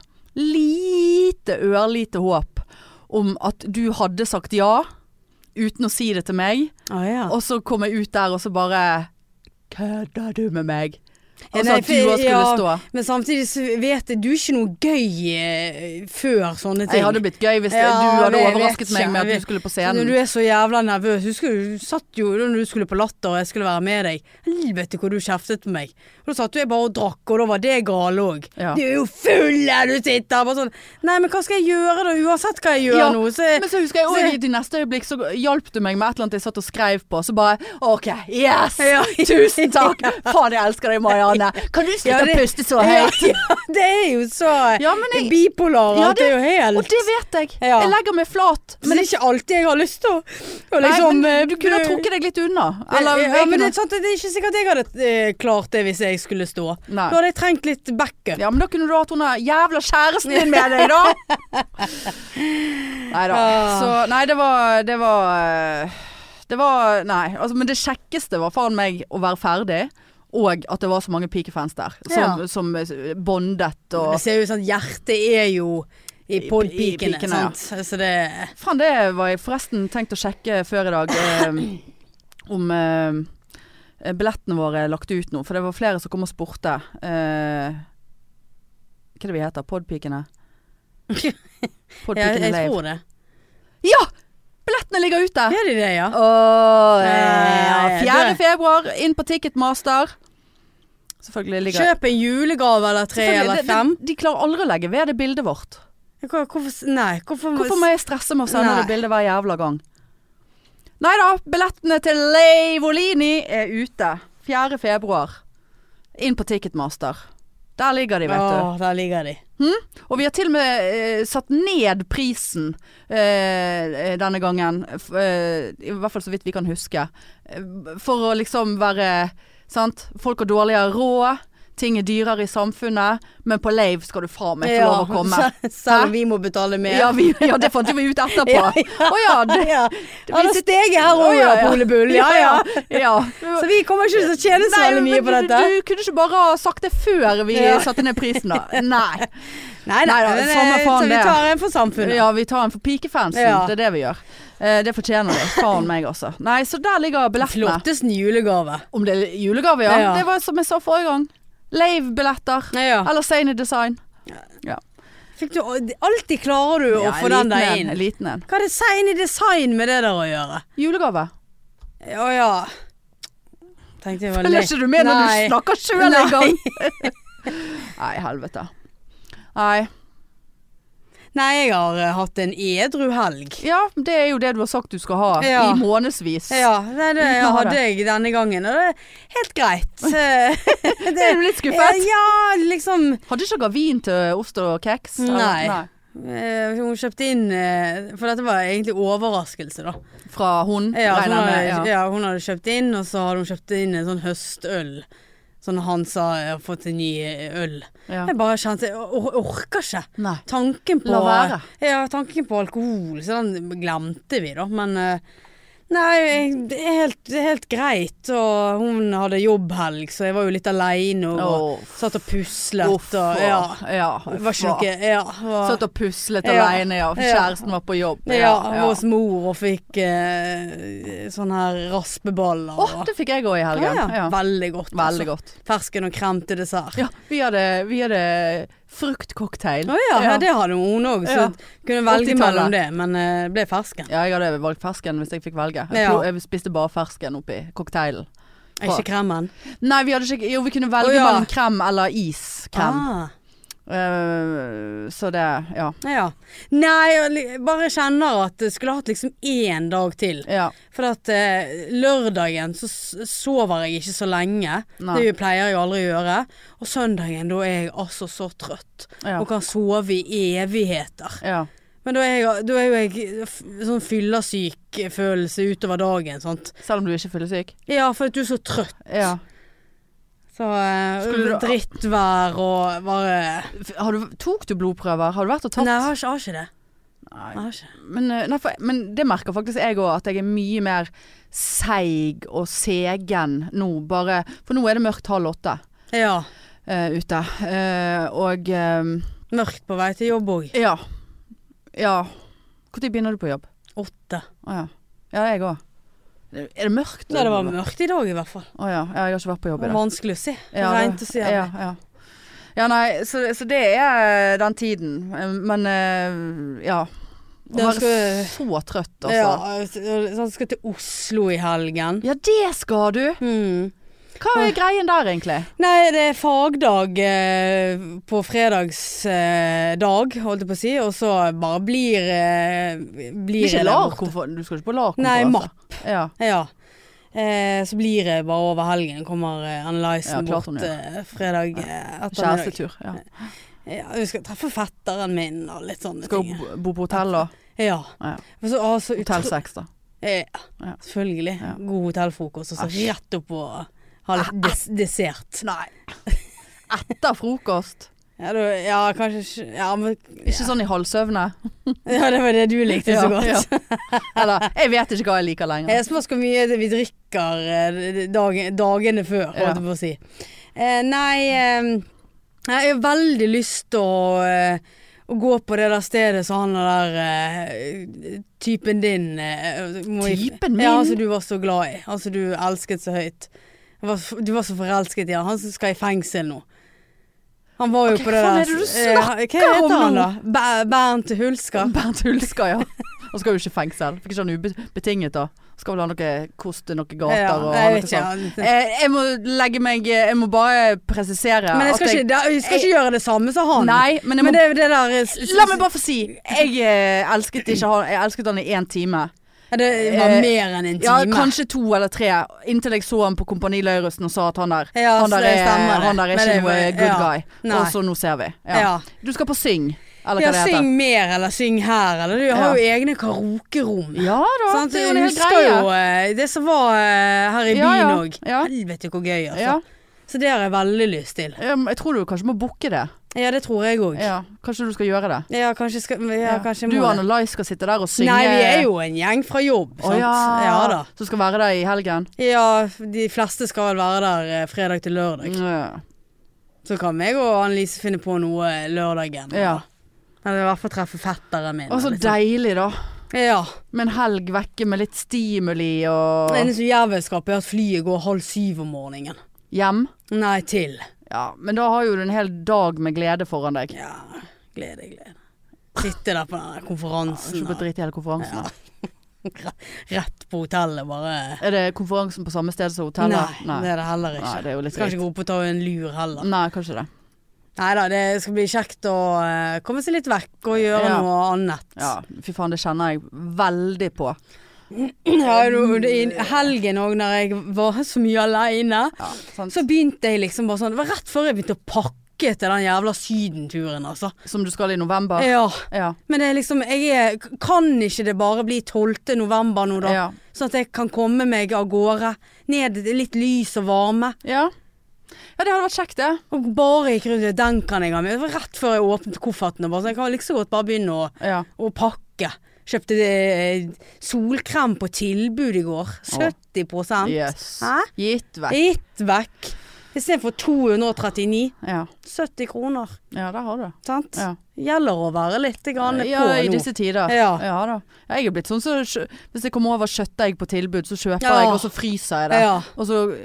Speaker 2: lite ørlite håp om at du hadde sagt ja uten å si det til meg.
Speaker 1: Å ja.
Speaker 2: Og så kom jeg ut der, og så bare Kødder du med meg?
Speaker 1: Ja,
Speaker 2: Altså
Speaker 1: nei,
Speaker 2: at du òg
Speaker 1: for-
Speaker 2: skulle
Speaker 1: ja,
Speaker 2: stå.
Speaker 1: Men samtidig så vet jeg, du er ikke noe gøy eh, før sånne ting.
Speaker 2: Altså, Jeg hadde blitt gøy hvis det-
Speaker 1: Ja,
Speaker 2: du hadde
Speaker 1: det vet
Speaker 2: overrasket meg
Speaker 1: jeg.
Speaker 2: med at
Speaker 1: Jeg
Speaker 2: du skulle på
Speaker 1: Så Når
Speaker 2: scenen.
Speaker 1: du er så jævla nervøs Husker du, du satt jo når du skulle på latter og jeg skulle være med deg. Helvete hvor du kjeftet på meg. Og Da satt jo jeg bare og drakk, og da var det gal òg.
Speaker 2: Ja.
Speaker 1: Du er jo full der du sitter! Bare sånn Nei, men hva skal jeg gjøre da? Uansett hva jeg gjør
Speaker 2: Ja,
Speaker 1: nå, så
Speaker 2: Men så husker jeg også
Speaker 1: Så-
Speaker 2: i de neste øyeblikk så hjalp du meg med et eller annet jeg satt og skrev på. Så bare OK, yes!
Speaker 1: Ja.
Speaker 2: Tusen takk! Faen, jeg elsker deg, Marianne. Kan du slutte
Speaker 1: Ja, det-
Speaker 2: å puste så høyt?
Speaker 1: Ja, det er jo så
Speaker 2: Ja, men jeg-
Speaker 1: Bipolar og
Speaker 2: Ja,
Speaker 1: alt
Speaker 2: det-
Speaker 1: er jo helt
Speaker 2: Og det vet jeg.
Speaker 1: Ja.
Speaker 2: Jeg legger meg flat.
Speaker 1: Men det er ikke alltid jeg har lyst til å å
Speaker 2: Nei,
Speaker 1: liksom eh,
Speaker 2: men du kunne ha
Speaker 1: prøv-
Speaker 2: trukket deg litt unna. Eller,
Speaker 1: Eller,
Speaker 2: jeg
Speaker 1: ja, men det,
Speaker 2: kunne,
Speaker 1: er sant, det er ikke sikkert jeg hadde eh, klart det hvis jeg skulle stå.
Speaker 2: Nei.
Speaker 1: Da hadde jeg trengt litt backup.
Speaker 2: ja, men da kunne du hatt hun der jævla kjæresten din med deg, da! Nei da.
Speaker 1: Ah.
Speaker 2: Så Nei, det var Det var eh, Det var Nei. Altså, men det kjekkeste var faen meg å være ferdig. Og at det var så mange pikefans der, som,
Speaker 1: Ja.
Speaker 2: som eh, bondet og
Speaker 1: Det ser jo ut som at hjertet er jo i
Speaker 2: I- i
Speaker 1: podpikene,
Speaker 2: pikene, ja.
Speaker 1: sant. Så det
Speaker 2: Faen, det var jeg forresten tenkt å sjekke før i dag eh, om eh, billettene våre er lagt ut nå. For det var flere som kom og spurte. Eh, hva er det vi heter? Podpikene?
Speaker 1: Ja,
Speaker 2: Podpikene
Speaker 1: jeg
Speaker 2: Live.
Speaker 1: tror det.
Speaker 2: Ja! Billettene ligger ute!
Speaker 1: Er de det, ja?
Speaker 2: Åh,
Speaker 1: Eh,
Speaker 2: eh, 4.
Speaker 1: det-
Speaker 2: februar, inn på Ticketmaster. Selvfølgelig ligger
Speaker 1: Kjøp en julegave eller tre
Speaker 2: Selvfølgelig,
Speaker 1: eller
Speaker 2: det-
Speaker 1: fem.
Speaker 2: det- De klarer aldri å legge ved det bildet vårt.
Speaker 1: Hva- Hvorfor s- Nei, hvorfor, må-
Speaker 2: Hvorfor må jeg stresse med å sende
Speaker 1: Nei.
Speaker 2: det bildet hver jævla gang? Nei da, billettene til Leivolini er ute. 4. februar. Inn på Ticketmaster. Der ligger de, vet
Speaker 1: Åh, der ligger de.
Speaker 2: du. Og vi har til og med eh, satt ned prisen eh, denne gangen. F- Eh, I hvert fall så vidt vi kan huske. Eh, For å liksom være Sant? Folk har dårligere råd. Ting er dyrere i samfunnet. Men på Leiv skal du faen meg få lov å komme.
Speaker 1: se- Selv om vi må betale mer.
Speaker 2: Ja, vi, ja, det fant jo vi ut etterpå. Å
Speaker 1: Ja,
Speaker 2: ja. det,
Speaker 1: ja.
Speaker 2: det
Speaker 1: Han har
Speaker 2: viser-
Speaker 1: steget her
Speaker 2: Å,
Speaker 1: òg,
Speaker 2: ja, ja.
Speaker 1: Ole Bull. Ja, ja.
Speaker 2: ja.
Speaker 1: Så vi kommer ikke til å tjene så
Speaker 2: Nei,
Speaker 1: veldig
Speaker 2: men
Speaker 1: mye på
Speaker 2: du-
Speaker 1: dette.
Speaker 2: Du kunne ikke bare ha sagt det før vi
Speaker 1: Ja.
Speaker 2: satte ned prisen, da. Nei.
Speaker 1: Nei da,
Speaker 2: Neida,
Speaker 1: men,
Speaker 2: samme
Speaker 1: eh,
Speaker 2: faen
Speaker 1: så vi
Speaker 2: det.
Speaker 1: tar en for samfunnet.
Speaker 2: Ja, vi tar en for pikefansen.
Speaker 1: Ja.
Speaker 2: Det er det vi gjør. Eh, Det fortjener de. Faen meg, altså. Nei, så der ligger billettene.
Speaker 1: Flottesten julegave.
Speaker 2: Om det er julegave, ja.
Speaker 1: Ja.
Speaker 2: Det var som jeg sa forrige gang. Lave-billetter.
Speaker 1: Ja.
Speaker 2: Eller Sane Design.
Speaker 1: Fikk du, alltid klarer du å
Speaker 2: Ja,
Speaker 1: få
Speaker 2: liten
Speaker 1: den der
Speaker 2: en,
Speaker 1: inn.
Speaker 2: Liten en.
Speaker 1: Hva er det sein i design med det der å gjøre?
Speaker 2: Julegave.
Speaker 1: Å ja. Tenkte jeg var
Speaker 2: Følger
Speaker 1: litt-
Speaker 2: ikke du med når
Speaker 1: Nei.
Speaker 2: du snakker sjøl
Speaker 1: Nei.
Speaker 2: engang? Nei, helvete. Nei.
Speaker 1: Nei, jeg har eh, hatt en edru helg.
Speaker 2: Ja, det er jo det du har sagt du skal ha
Speaker 1: Ja.
Speaker 2: i månedsvis.
Speaker 1: Ja, nei, det
Speaker 2: Uten å ha
Speaker 1: hadde jeg denne gangen, og det er helt greit.
Speaker 2: Det er du litt skuffet.
Speaker 1: Ja, liksom
Speaker 2: Hadde ikke dere vin til ost og kjeks? eller?
Speaker 1: Nei. eh, Hun kjøpte inn eh, For dette var egentlig overraskelse, da.
Speaker 2: Fra hun,
Speaker 1: Ja, så hun
Speaker 2: regner jeg
Speaker 1: hadde,
Speaker 2: med. Ja.
Speaker 1: ja, hun hadde kjøpt inn, og så hadde hun kjøpt inn en sånn høstøl. Sånn Hansa har fått en ny eh, øl.
Speaker 2: Ja.
Speaker 1: Jeg bare kjente Jeg or- orker ikke.
Speaker 2: Nei.
Speaker 1: Tanken på
Speaker 2: La være.
Speaker 1: Ja, tanken på alkohol, så den glemte vi, da. Men eh, nei, jeg- det er helt, det er helt greit. Og hun hadde jobbhelg, så jeg var jo litt aleine og
Speaker 2: Åh.
Speaker 1: satt og puslet
Speaker 2: Uff,
Speaker 1: og Ja.
Speaker 2: ja,
Speaker 1: Det
Speaker 2: uff,
Speaker 1: var ikke noe Ja. var-
Speaker 2: Satt og puslet
Speaker 1: Ja.
Speaker 2: alene, ja.
Speaker 1: Ja.
Speaker 2: Kjæresten var på jobb.
Speaker 1: ja, hos mor og fikk eh, sånn her raspeballer.
Speaker 2: Åh,
Speaker 1: og-
Speaker 2: det fikk jeg òg i
Speaker 1: ja,
Speaker 2: helgen.
Speaker 1: ja.
Speaker 2: Ja.
Speaker 1: Veldig godt.
Speaker 2: Veldig godt.
Speaker 1: Altså. Fersken og krem til dessert.
Speaker 2: Ja, vi hadde, vi hadde fruktcocktail.
Speaker 1: Å ja, ja, det hadde hun òg, så
Speaker 2: Ja.
Speaker 1: kunne velge
Speaker 2: 80-tallet.
Speaker 1: mellom det, men eh, det ble fersken.
Speaker 2: Ja, jeg hadde valgt fersken hvis jeg fikk velge. Jeg,
Speaker 1: Ja.
Speaker 2: plo- jeg spiste bare fersken oppi cocktailen.
Speaker 1: Er ikke kremen?
Speaker 2: Nei, vi hadde ikke Jo, vi kunne velge
Speaker 1: Å, ja.
Speaker 2: mellom krem eller iskrem.
Speaker 1: Ah,
Speaker 2: Eh, så det Ja.
Speaker 1: ja. Nei, jeg li- bare kjenner at jeg skulle hatt liksom én dag til.
Speaker 2: ja.
Speaker 1: For at eh, lørdagen så s- sover jeg ikke så lenge.
Speaker 2: Nei.
Speaker 1: Det pleier jeg jo aldri å gjøre. Og søndagen da er jeg altså så trøtt.
Speaker 2: Ja.
Speaker 1: Og kan sove i evigheter.
Speaker 2: ja.
Speaker 1: Men da er, jeg, da er jo jeg f- sånn fyllesyk følelse utover dagen, sant.
Speaker 2: Selv om du ikke er fyllesyk?
Speaker 1: Ja, for at du er så trøtt.
Speaker 2: Ja.
Speaker 1: Så eh,
Speaker 2: Skulle du-
Speaker 1: drittvær og bare
Speaker 2: F- Har du, tok du blodprøver? Har du vært og tatt?
Speaker 1: Nei, jeg har ikke, har ikke det.
Speaker 2: Nei.
Speaker 1: Jeg har ikke.
Speaker 2: Men, eh, nei, for, men det merker faktisk jeg òg, at jeg er mye mer seig og segen nå. Bare, for nå er det mørkt halv åtte
Speaker 1: Ja.
Speaker 2: eh, ute. Eh, og eh,
Speaker 1: Mørkt på vei til jobb òg.
Speaker 2: ja. Ja. Når begynner du på jobb?
Speaker 1: Åtte.
Speaker 2: Å ja. Ja, jeg òg. Er det mørkt?
Speaker 1: Nei, det var mørkt i dag i hvert fall.
Speaker 2: Å ja. ja. Jeg har ikke vært på
Speaker 1: Det
Speaker 2: jobb i
Speaker 1: var
Speaker 2: dag.
Speaker 1: vanskelig å se.
Speaker 2: Ja, det-
Speaker 1: Rent å se.
Speaker 2: Ja, ja. ja nei, så, så det er eh, den tiden. Men eh, ja. Å
Speaker 1: Det
Speaker 2: være
Speaker 1: skal-
Speaker 2: så trøtt, altså.
Speaker 1: Ja,
Speaker 2: Ja.
Speaker 1: så han skal til Oslo i helgen.
Speaker 2: det skal du.
Speaker 1: Hmm.
Speaker 2: Hva er greien der, egentlig?
Speaker 1: Nei, det er fagdag eh, på fredagsdag, eh, dag, holdt jeg på å si, og så bare blir, eh, blir
Speaker 2: Ikke
Speaker 1: jeg der borte.
Speaker 2: LAR-konferanse? Du skal ikke på LAR-konferanse?
Speaker 1: Nei, mapp.
Speaker 2: Ja.
Speaker 1: Ja. Eh, så blir det bare over helgen, kommer eh,
Speaker 2: Ja,
Speaker 1: Analysen
Speaker 2: klart
Speaker 1: bort
Speaker 2: hun
Speaker 1: eh, fredag eh, ettermiddag.
Speaker 2: Kjærestetur. Ja.
Speaker 1: Ja, vi skal treffe fetteren min og litt sånne
Speaker 2: Skal
Speaker 1: ting.
Speaker 2: hun bo- bo på hotell, da?
Speaker 1: Ja.
Speaker 2: Ja.
Speaker 1: For så, ah, så
Speaker 2: Hotell
Speaker 1: utro-
Speaker 2: 6, da.
Speaker 1: Eh,
Speaker 2: Ja.
Speaker 1: ja, selvfølgelig.
Speaker 2: Ja.
Speaker 1: God hotellfrokost, og så
Speaker 2: Æsj.
Speaker 1: rett opp og ha litt des dessert.
Speaker 2: Nei. Etter frokost.
Speaker 1: Ja, du, ja kanskje ikke- ja, men,
Speaker 2: Ikke sånn i halvsøvne.
Speaker 1: ja, det var det du likte så godt.
Speaker 2: Ja, ja. Eller jeg vet ikke hva jeg liker lenger.
Speaker 1: Jeg spørs hvor mye det vi drikker eh, dag, dagene før,
Speaker 2: Ja.
Speaker 1: holdt jeg på å si. Eh, nei, eh, jeg har veldig lyst til å, eh, å gå på det der stedet som han der eh, typen din eh, må jeg-
Speaker 2: Typen min?
Speaker 1: Ja, han som du var så glad i. Han som du elsket så høyt. Jeg Var, f- du var så forelsket i han. Han som skal i fengsel nå. Han var jo
Speaker 2: Ok,
Speaker 1: på det
Speaker 2: hva faen
Speaker 1: der
Speaker 2: er det du
Speaker 1: eh, Hva
Speaker 2: snakker om
Speaker 1: heter han
Speaker 2: nå?
Speaker 1: da? Ber- Bernt Hulsker?
Speaker 2: Bernt Hulsker, ja. Han skal jo ikke i fengsel. Fikk ikke han ubetinget, da? Skal vel ha noe kost i noen gater
Speaker 1: Ja,
Speaker 2: og
Speaker 1: jeg
Speaker 2: ha noe
Speaker 1: vet ikke.
Speaker 2: sånt.
Speaker 1: han-
Speaker 2: Eh, Jeg må legge meg Jeg må bare presisere
Speaker 1: Men jeg skal,
Speaker 2: at jeg-
Speaker 1: ikke, da- jeg skal ikke gjøre det samme som han.
Speaker 2: Nei, men jeg må
Speaker 1: Men det er jo det der eh, s- s-
Speaker 2: La meg bare få si Jeg eh, elsket ikke han Jeg elsket han i en time
Speaker 1: Ja, Det var
Speaker 2: Eh,
Speaker 1: mer enn en time.
Speaker 2: Ja, kanskje to eller tre Inntil jeg så han på Kompani Løyrussen Og sa at han der
Speaker 1: Ja,
Speaker 2: Han
Speaker 1: så
Speaker 2: der
Speaker 1: det
Speaker 2: er,
Speaker 1: stemmer det.
Speaker 2: han der er
Speaker 1: Men
Speaker 2: ikke
Speaker 1: det
Speaker 2: noe
Speaker 1: var-
Speaker 2: good
Speaker 1: ja.
Speaker 2: guy
Speaker 1: Nei.
Speaker 2: Og så nå ser vi ja.
Speaker 1: Ja.
Speaker 2: Du skal på Syng Eller
Speaker 1: Ja,
Speaker 2: hva det heter
Speaker 1: syng mer eller syng her, eller du har
Speaker 2: Ja.
Speaker 1: jo egne karaokerom.
Speaker 2: Ja da
Speaker 1: Sant?
Speaker 2: Det er jo
Speaker 1: Jeg
Speaker 2: en hel
Speaker 1: husker
Speaker 2: greie
Speaker 1: jo eh, det som var eh, her i
Speaker 2: Ja,
Speaker 1: byen
Speaker 2: ja,
Speaker 1: òg.
Speaker 2: ja.
Speaker 1: Helvete hvor gøy, altså.
Speaker 2: ja.
Speaker 1: Så det har jeg veldig lyst til.
Speaker 2: Um, Jeg tror du kanskje må bukke det
Speaker 1: Ja, det tror jeg òg. Ja.
Speaker 2: ja. Kanskje du skal gjøre det
Speaker 1: kanskje skal ja,
Speaker 2: Ja.
Speaker 1: kanskje
Speaker 2: Du
Speaker 1: må
Speaker 2: og
Speaker 1: det.
Speaker 2: Annalise skal sitte der og synge
Speaker 1: Nei, vi er jo en gjeng fra jobb, sant.
Speaker 2: Å ja.
Speaker 1: ja da.
Speaker 2: Så skal være der i helgen
Speaker 1: Ja, de fleste skal vel være der eh, fredag til lørdag.
Speaker 2: Ja.
Speaker 1: Så kan jeg og Annelise finne på noe eh, lørdagen.
Speaker 2: Ja.
Speaker 1: Eller i hvert fall treffe fetteren min.
Speaker 2: Og så
Speaker 1: liksom.
Speaker 2: deilig da
Speaker 1: Ja.
Speaker 2: Med en helg vekke med litt stimuli og
Speaker 1: Det eneste jævelskapet er at flyet går halv syv om morgenen.
Speaker 2: hjem.
Speaker 1: Nei, til.
Speaker 2: Ja, men da har jo du en hel dag med glede foran deg.
Speaker 1: Ja, glede, glede. Sitte der på den der konferansen.
Speaker 2: Ikke på dritt i hele konferansen. da.
Speaker 1: og Rett på hotellet, bare.
Speaker 2: Er det konferansen på samme sted som
Speaker 1: Nei,
Speaker 2: hotellet?
Speaker 1: det er det heller ikke.
Speaker 2: Nei, det er jo litt
Speaker 1: Skal ikke gå opp og ta en lur heller.
Speaker 2: Nei, kanskje det.
Speaker 1: Nei da, det skal bli kjekt å eh, komme seg litt vekk og gjøre
Speaker 2: Ja.
Speaker 1: noe annet.
Speaker 2: Ja, fy faen, det kjenner jeg veldig på.
Speaker 1: Ja, jo, det- I helgen òg, når jeg var så mye aleine.
Speaker 2: Ja, sant?
Speaker 1: Så begynte jeg liksom bare sånn Det var rett før jeg begynte å pakke til den jævla sydenturen, altså.
Speaker 2: Som du skal i november.
Speaker 1: Ja.
Speaker 2: Ja.
Speaker 1: Men det er liksom Jeg er, kan ikke det bare bli 12. november nå, da?
Speaker 2: Ja.
Speaker 1: Sånn at jeg kan komme meg av gårde. Ned til litt lys og varme.
Speaker 2: ja. Ja, det hadde vært kjekt, det.
Speaker 1: Og bare gikk rundt og Den kan jeg ha med. Det var rett før jeg åpnet kofferten. Og bare, så jeg kan like så godt bare begynne å,
Speaker 2: Ja.
Speaker 1: å pakke. Kjøpte eh, solkrem på tilbud i går. 70
Speaker 2: Yes.
Speaker 1: Hæ?
Speaker 2: Gitt vekk.
Speaker 1: Gitt vekk. Istedenfor 239.
Speaker 2: Ja.
Speaker 1: 70 kroner.
Speaker 2: ja, der har du det.
Speaker 1: Sant?
Speaker 2: Ja.
Speaker 1: Gjelder å være litt grann
Speaker 2: Ja,
Speaker 1: på
Speaker 2: i
Speaker 1: nå.
Speaker 2: disse tider.
Speaker 1: Ja.
Speaker 2: da. Jeg er blitt sånn så kjø- Hvis jeg kommer over kjøttdeig på tilbud, så kjøper
Speaker 1: Ja.
Speaker 2: jeg, og så fryser jeg det.
Speaker 1: Ja.
Speaker 2: Og så,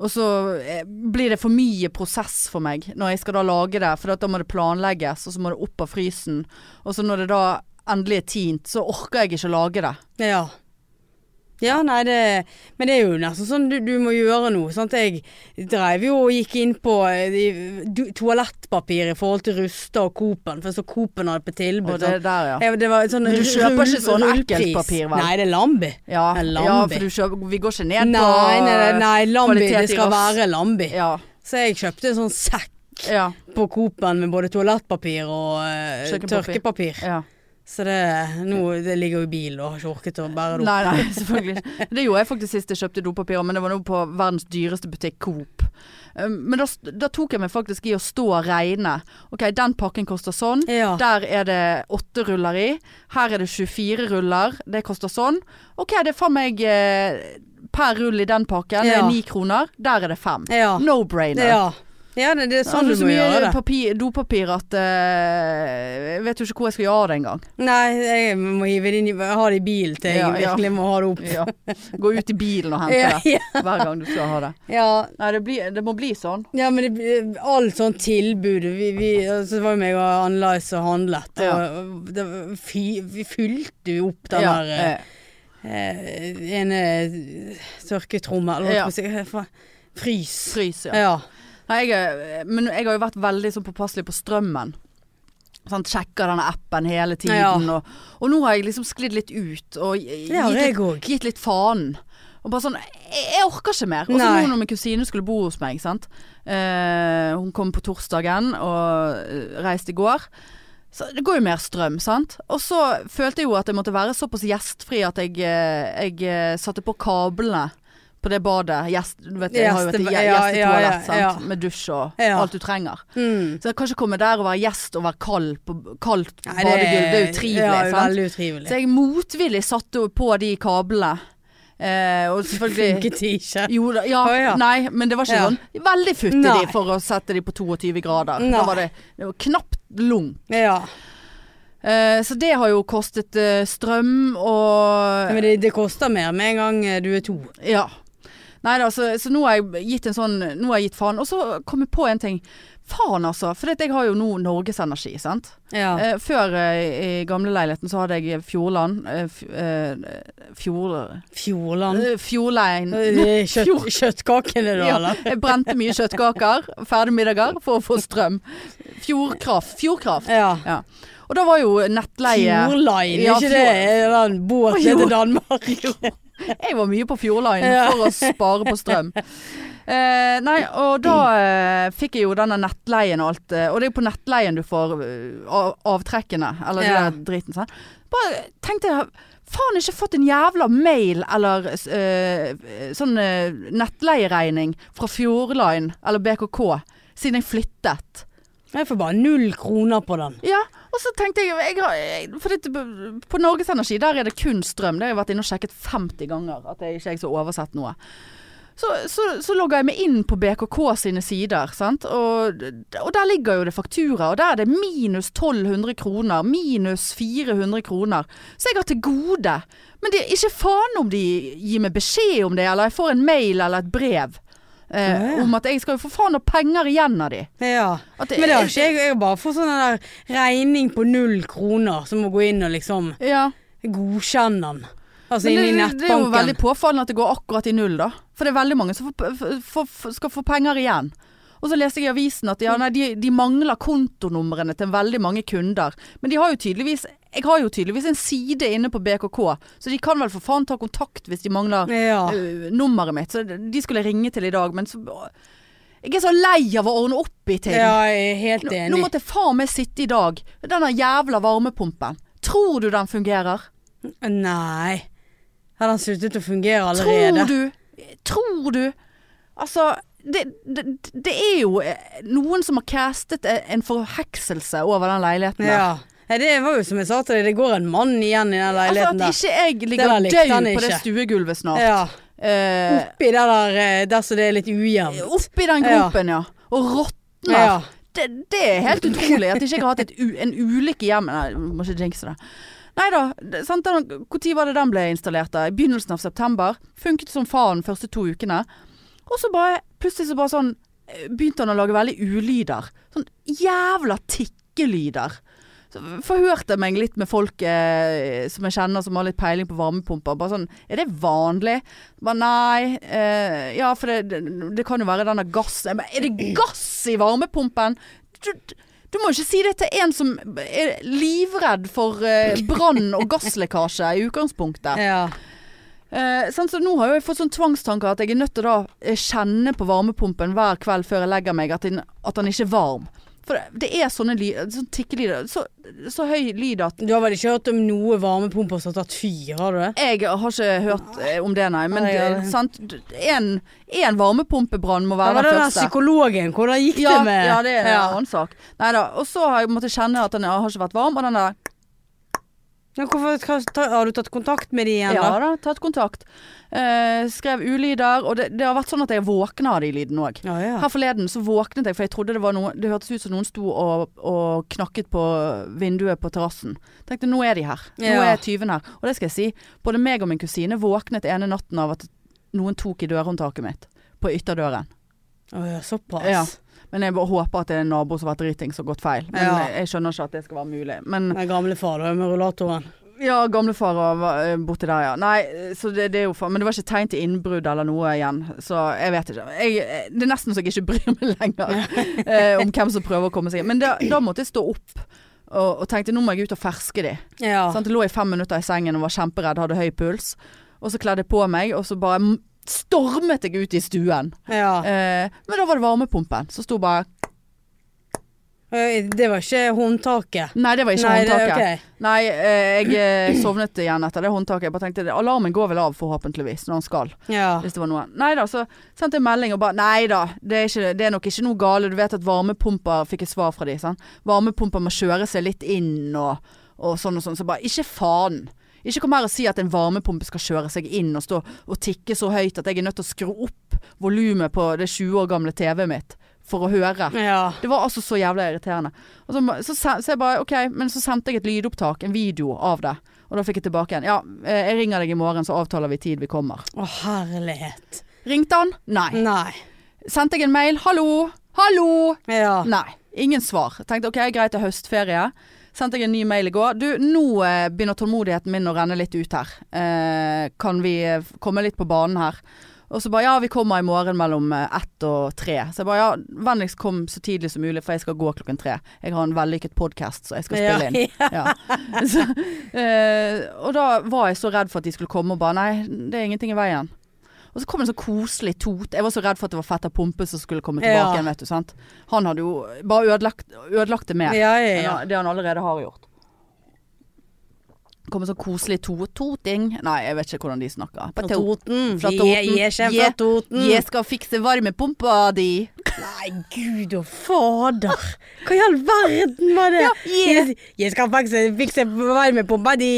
Speaker 2: og så eh, blir det for mye prosess for meg når jeg skal da lage det, for at da må det planlegges, og så må det opp av frysen. Og så når det da endelig er tint, så orker jeg ikke å lage det.
Speaker 1: Ja. Ja, nei, det Men det er jo nesten sånn du, du må gjøre noe. Sant? Jeg dreiv jo og gikk inn på eh, i- du- toalettpapir i forhold til Rusta og Coop-en, for jeg så Coop-en hadde på tilbud.
Speaker 2: Og det
Speaker 1: sant?
Speaker 2: der, ja.
Speaker 1: Jeg, det var sånn
Speaker 2: Men du
Speaker 1: rull-
Speaker 2: kjøper ikke sånn
Speaker 1: rullpris.
Speaker 2: ekkelt papir, vel?
Speaker 1: Nei, det er Lambi.
Speaker 2: Ja,
Speaker 1: En lambi.
Speaker 2: ja for du kjøper, vi går ikke
Speaker 1: Nei,
Speaker 2: ned på
Speaker 1: nei, nei, nei Lambi.
Speaker 2: kvalitet i
Speaker 1: Det skal
Speaker 2: rass.
Speaker 1: være Lambi.
Speaker 2: Ja,
Speaker 1: Så jeg kjøpte en sånn sekk
Speaker 2: ja,
Speaker 1: på Coop-en med både toalettpapir og eh,
Speaker 2: Kjøkkenpapir.
Speaker 1: tørkepapir.
Speaker 2: ja.
Speaker 1: Så det, nå, det ligger jo i bilen og har ikke orket å bære det opp.
Speaker 2: Nei, nei, selvfølgelig ikke. Det gjorde jeg faktisk sist jeg kjøpte dopapirer, men det var nå på verdens dyreste butikk, Coop. Um, Men da, da tok jeg meg faktisk i å stå og regne. Ok, den pakken koster sånn.
Speaker 1: Ja.
Speaker 2: Der er det åtte ruller i. Her er det 24 ruller. Det koster sånn. Ok, det er faen meg eh, per rull i den pakken. Det
Speaker 1: Ja.
Speaker 2: er ni kroner. Der er det fem.
Speaker 1: Ja.
Speaker 2: No brainer.
Speaker 1: Ja. Ja, det, det er sånn
Speaker 2: det er
Speaker 1: du
Speaker 2: så
Speaker 1: må
Speaker 2: mye
Speaker 1: gjøre det.
Speaker 2: papir, dopapir at eh, Jeg vet jo ikke hvor jeg skal gjøre av det engang.
Speaker 1: Nei, jeg må hive det inn i Ha det i bilen til jeg
Speaker 2: Ja, ja.
Speaker 1: virkelig må ha det opp.
Speaker 2: Ja. Gå ut i bilen og
Speaker 1: Ja,
Speaker 2: hente det
Speaker 1: ja.
Speaker 2: hver gang du skal ha det.
Speaker 1: Ja,
Speaker 2: Nei, det, blir, det må bli sånn.
Speaker 1: Ja, men det, blir- alt sånt tilbud vi, vi, altså, Det var jo meg og Ann-Lice og handlet. Og,
Speaker 2: Ja.
Speaker 1: og det, var fy, vi fylte jo opp den
Speaker 2: Ja,
Speaker 1: der eh,
Speaker 2: eh,
Speaker 1: eh, ene tørketrommel.
Speaker 2: Ja.
Speaker 1: Ja. Frys.
Speaker 2: frys, ja.
Speaker 1: Ja.
Speaker 2: Nei, jeg, er- men jeg har jo vært veldig sånn påpasselig på strømmen. Sånn, sjekker denne appen hele tiden.
Speaker 1: Ja.
Speaker 2: Og, og nå har jeg liksom sklidd litt ut og gi-
Speaker 1: Det har
Speaker 2: gitt,
Speaker 1: jeg
Speaker 2: litt,
Speaker 1: òg.
Speaker 2: gitt litt faen. Og bare sånn, jeg, jeg orker ikke mer. Og så
Speaker 1: Nei.
Speaker 2: nå når min kusine skulle bo hos meg, sant. Eh, hun kom på torsdagen og eh, reiste i går. Så det går jo mer strøm, sant. Og så følte jeg jo at jeg måtte være såpass gjestfri at jeg, eh, jeg eh, satte på kablene på det badet. Gjest, du vet, jeg har jo et gje-
Speaker 1: Gjeste- ja, ja, ja,
Speaker 2: gjestetoalett, sant.
Speaker 1: ja.
Speaker 2: Med dusj og
Speaker 1: Ja.
Speaker 2: alt du trenger.
Speaker 1: Mm.
Speaker 2: Så jeg kan ikke komme der og være gjest og være kald på kaldt
Speaker 1: Nei,
Speaker 2: badegulv. Det er utrivelig.
Speaker 1: Ja,
Speaker 2: sant?
Speaker 1: veldig utrivelig.
Speaker 2: Så jeg motvillig satte jo på de kablene. Eh, og selvfølgelig
Speaker 1: Funket ikke.
Speaker 2: jo da, ja,
Speaker 1: Å, ja.
Speaker 2: nei, men det var ikke
Speaker 1: Ja.
Speaker 2: sånn veldig futt i de
Speaker 1: Nei.
Speaker 2: for å sette de på 22 grader. Da
Speaker 1: Nei.
Speaker 2: var det, det var knapt lung.
Speaker 1: Ja.
Speaker 2: Eh, så det har jo kostet eh, strøm og
Speaker 1: Men det, det koster mer med en gang eh, du er to.
Speaker 2: Ja. Nei da, så, så nå har jeg gitt en sånn Nå har jeg gitt faen. Og så kom jeg på en ting. Faen, altså. For jeg har jo nå Norgesenergi, sant.
Speaker 1: Ja.
Speaker 2: Eh, før eh, i gamleleiligheten så hadde jeg Fjordland eh, f- eh, Fjord...
Speaker 1: Fjordland.
Speaker 2: eh, Fjordlein.
Speaker 1: Eh, det er Kjøtt, kjøttkakene, da,
Speaker 2: Ja,
Speaker 1: eller?
Speaker 2: jeg brente mye kjøttkaker, ferdigmiddager, for å få strøm. Fjordkraft. Fjordkraft.
Speaker 1: Ja.
Speaker 2: Ja. Og da var jo nettleie
Speaker 1: Fjordline,
Speaker 2: Ja,
Speaker 1: ikke
Speaker 2: fjord-
Speaker 1: det? Er det den båten
Speaker 2: Jo.
Speaker 1: til Danmark?
Speaker 2: Jeg var mye på Fjordline
Speaker 1: Ja.
Speaker 2: for å spare på strøm. Eh, nei, og da eh, fikk jeg jo denne nettleien og alt. eh, og det er jo på nettleien du får eh, av- avtrekkene, eller
Speaker 1: Ja.
Speaker 2: det der driten. Sånn. Bare tenkte jeg Faen, ikke fått en jævla mail eller eh, sånn eh, nettleieregning fra Fjordline eller BKK siden jeg flyttet.
Speaker 1: Jeg får bare null kroner på den.
Speaker 2: Ja, og så tenkte jeg, jeg, har- jeg For dette, på Norges Energi der er det kun strøm. Det har jeg vært inne og sjekket 50 ganger. At jeg ikke jeg så oversett noe. Så, så, så logger jeg meg inn på BKK sine sider, sant? Og, og der ligger jo det faktura. Og der er det minus 1200 kroner, minus 400 kroner. Så jeg har til gode. Men det er ikke faen om de gir meg beskjed om det, eller jeg får en mail eller et brev eh,
Speaker 1: Ja.
Speaker 2: om at jeg skal jo for faen ha penger igjen av de.
Speaker 1: Ja.
Speaker 2: At
Speaker 1: Men det har ikke jeg. Jeg har bare fått sånn der regning på null kroner, som må gå inn og liksom
Speaker 2: Ja.
Speaker 1: godkjenne den. Altså
Speaker 2: Men
Speaker 1: inn i
Speaker 2: det, det er jo veldig
Speaker 1: nettbanken.
Speaker 2: påfallende at det går akkurat i null, da. For det er veldig mange som får, f- f- f- skal få penger igjen. Og så leste jeg i avisen at ja, nei, de, de mangler kontonumrene til veldig mange kunder. Men de har jo tydeligvis Jeg har jo tydeligvis en side inne på BKK, så de kan vel for faen ta kontakt hvis de mangler
Speaker 1: Ja.
Speaker 2: øh, nummeret mitt. Så de skulle jeg ringe til i dag, men så Jeg er så lei av å ordne opp i ting.
Speaker 1: ja, jeg er helt
Speaker 2: Nå, nå
Speaker 1: enig.
Speaker 2: måtte faen meg sitte i dag. Denne jævla varmepumpen. Tror du den fungerer?
Speaker 1: Nei. Har den sluttet å fungere
Speaker 2: Tror
Speaker 1: allerede?
Speaker 2: du? Tror du? Altså, det, det, det er jo eh, noen som har castet eh, en forhekselse over den leiligheten. der.
Speaker 1: Ja. Nei, det var jo som jeg sa til deg, det går en mann igjen i den
Speaker 2: Altså
Speaker 1: leiligheten
Speaker 2: At
Speaker 1: der.
Speaker 2: ikke jeg ligger
Speaker 1: der likte han
Speaker 2: død på
Speaker 1: ikke.
Speaker 2: det stuegulvet snart.
Speaker 1: Ja.
Speaker 2: Eh,
Speaker 1: Oppi det der eh, der som det er litt ujevnt.
Speaker 2: oppi den
Speaker 1: Ja.
Speaker 2: gropen, ja. Og råtner.
Speaker 1: Ja.
Speaker 2: Det, det er helt utrolig at ikke jeg har hatt et u en ulykke hjemme. Nei, jeg må ikke jinxe det. Nei da. Når var det den ble installert? da? I begynnelsen av september. Funket som faen de første to ukene. Og så bare plutselig så bare sånn eh, begynte han å lage veldig ulyder. Sånn jævla tikkelyder. Så forhørte jeg meg litt med folk eh, som jeg kjenner som har litt peiling på varmepumper. Bare sånn Er det vanlig? Bare nei. Eh, ja, for det, det, det kan jo være denne gassen Men Er det gass i varmepumpen? Du, du må jo ikke si det til en som er livredd for eh, brann og gasslekkasje i utgangspunktet.
Speaker 1: Ja.
Speaker 2: Eh, sant, så nå har jo jeg fått sånn tvangstanker at jeg er nødt til å da eh, kjenne på varmepumpen hver kveld før jeg legger meg at den, at den ikke er varm. For det, det er sånne ly- sånn tikkelyder. Så, så høy lyd at
Speaker 1: Du har vel ikke hørt om noe varmepumper som har tatt fyr, har du det?
Speaker 2: jeg har ikke hørt eh, om det, nei. Men
Speaker 1: Nei, ja,
Speaker 2: eh,
Speaker 1: det-
Speaker 2: sant, d- en, en varmepumpebrann må
Speaker 1: Det
Speaker 2: være
Speaker 1: var
Speaker 2: den
Speaker 1: den der
Speaker 2: første.
Speaker 1: psykologen, hvordan gikk
Speaker 2: Ja,
Speaker 1: det med
Speaker 2: ja, det er en
Speaker 1: Ja.
Speaker 2: annen sak. Nei da. Og så har jeg måttet kjenne at den har ikke vært varm, og den der
Speaker 1: Ja, hvorfor, hva- ta- har du tatt kontakt med de igjen,
Speaker 2: Ja
Speaker 1: da?
Speaker 2: da, tatt kontakt. Eh, skrev ulyder, og det, det har vært sånn at jeg våkna av de lydene òg.
Speaker 1: Ja, ja.
Speaker 2: Her forleden så våknet jeg, for jeg trodde det var noe Det hørtes ut som noen sto og, og knakket på vinduet på terrassen. Tenkte nå er de her. Nå
Speaker 1: Ja.
Speaker 2: er tyven her. Og det skal jeg si. Både meg og min kusine våknet ene natten av at noen tok i dørhåndtaket mitt. På ytterdøren.
Speaker 1: Å ja, såpass.
Speaker 2: Ja. Men jeg bare håper at det er en nabo som har vært driting som har gått feil. Men
Speaker 1: Ja.
Speaker 2: jeg skjønner ikke at det skal være mulig. Men
Speaker 1: Nei, gamle far da, med rullatoren.
Speaker 2: ja, gamlefar og var, eh, borti der, ja. Nei, så det, det er jo faen Men det var ikke tegn til innbrudd eller noe igjen. Så jeg vet ikke. Jeg, eh, det er nesten så jeg ikke bryr meg lenger eh, om hvem som prøver å komme seg inn. Men da, da måtte jeg stå opp. Og, og tenkte nå må jeg ut og ferske de.
Speaker 1: Ja.
Speaker 2: Sant? Jeg lå i fem minutter i sengen og var kjemperedd, hadde høy puls. Og så kledde jeg på meg, og så bare m- stormet jeg ut i stuen.
Speaker 1: ja.
Speaker 2: Eh, men da var det varmepumpen som sto bare
Speaker 1: Eh, Det var ikke håndtaket.
Speaker 2: Nei, det var ikke
Speaker 1: Nei, det-
Speaker 2: håndtaket.
Speaker 1: ok.
Speaker 2: Nei, eh, jeg eh, sovnet igjen etter det håndtaket. Jeg bare tenkte alarmen går vel av forhåpentligvis når han skal.
Speaker 1: Ja.
Speaker 2: Hvis det var noe. Nei da, så sendte jeg melding og bare Nei da, det er, ikke, det er nok ikke noe gale. Du vet at varmepumper fikk jeg svar fra de. Sant? Varmepumper må kjøre seg litt inn og, og sånn og sånn. Så bare ikke faen. Ikke kom her og si at en varmepumpe skal kjøre seg inn og stå og tikke så høyt at jeg er nødt til å skru opp volumet på det 20 år gamle TV-et mitt for å høre.
Speaker 1: Ja.
Speaker 2: Det var altså så jævla irriterende. Og så, må- så, se- så jeg bare, ok, men så sendte jeg et lydopptak, en video av det. Og da fikk jeg tilbake en. Ja, eh, jeg ringer deg i morgen, så avtaler vi tid vi kommer.
Speaker 1: Å, herlighet.
Speaker 2: Ringte han? Nei.
Speaker 1: Nei.
Speaker 2: Sendte jeg en mail? Hallo? Hallo?
Speaker 1: Ja.
Speaker 2: Nei. Ingen svar. Jeg Tenkte ok, greit, det er høstferie. Sendte jeg en ny mail i går. Du, nå eh, begynner tålmodigheten min å renne litt ut her. Eh, kan vi eh, komme litt på banen her? Og så bare ja, vi kommer i morgen mellom eh, ett og tre. Så jeg bare ja, vennligst kom så tidlig som mulig, for jeg skal gå klokken tre. Jeg har en vellykket podkast, så jeg skal spille inn.
Speaker 1: Ja.
Speaker 2: Ja. Så, eh, og da var jeg så redd for at de skulle komme og bare Nei, det er ingenting i veien. Og så kom en sånn koselig tot. Jeg var så redd for at det var fetter Pumpe som skulle komme tilbake
Speaker 1: Ja.
Speaker 2: igjen, vet du. sant? Han hadde jo bare ødelagt, ødelagt det mer
Speaker 1: Ja, ja,
Speaker 2: enn
Speaker 1: ja.
Speaker 2: han- det han allerede har gjort. Kom en sånn koselig to toting. Nei, jeg vet ikke hvordan de snakker.
Speaker 1: Fra
Speaker 2: Bare to-
Speaker 1: Toten.
Speaker 2: Fra
Speaker 1: Je-
Speaker 2: Toten.
Speaker 1: Jeg kommer
Speaker 2: Je-
Speaker 1: fra Toten.
Speaker 2: Jeg skal fikse varmepumpa di.
Speaker 1: Nei, gud og fader. Hva i all verden var det? jeg, jeg skal faktisk fikse varmepumpa di.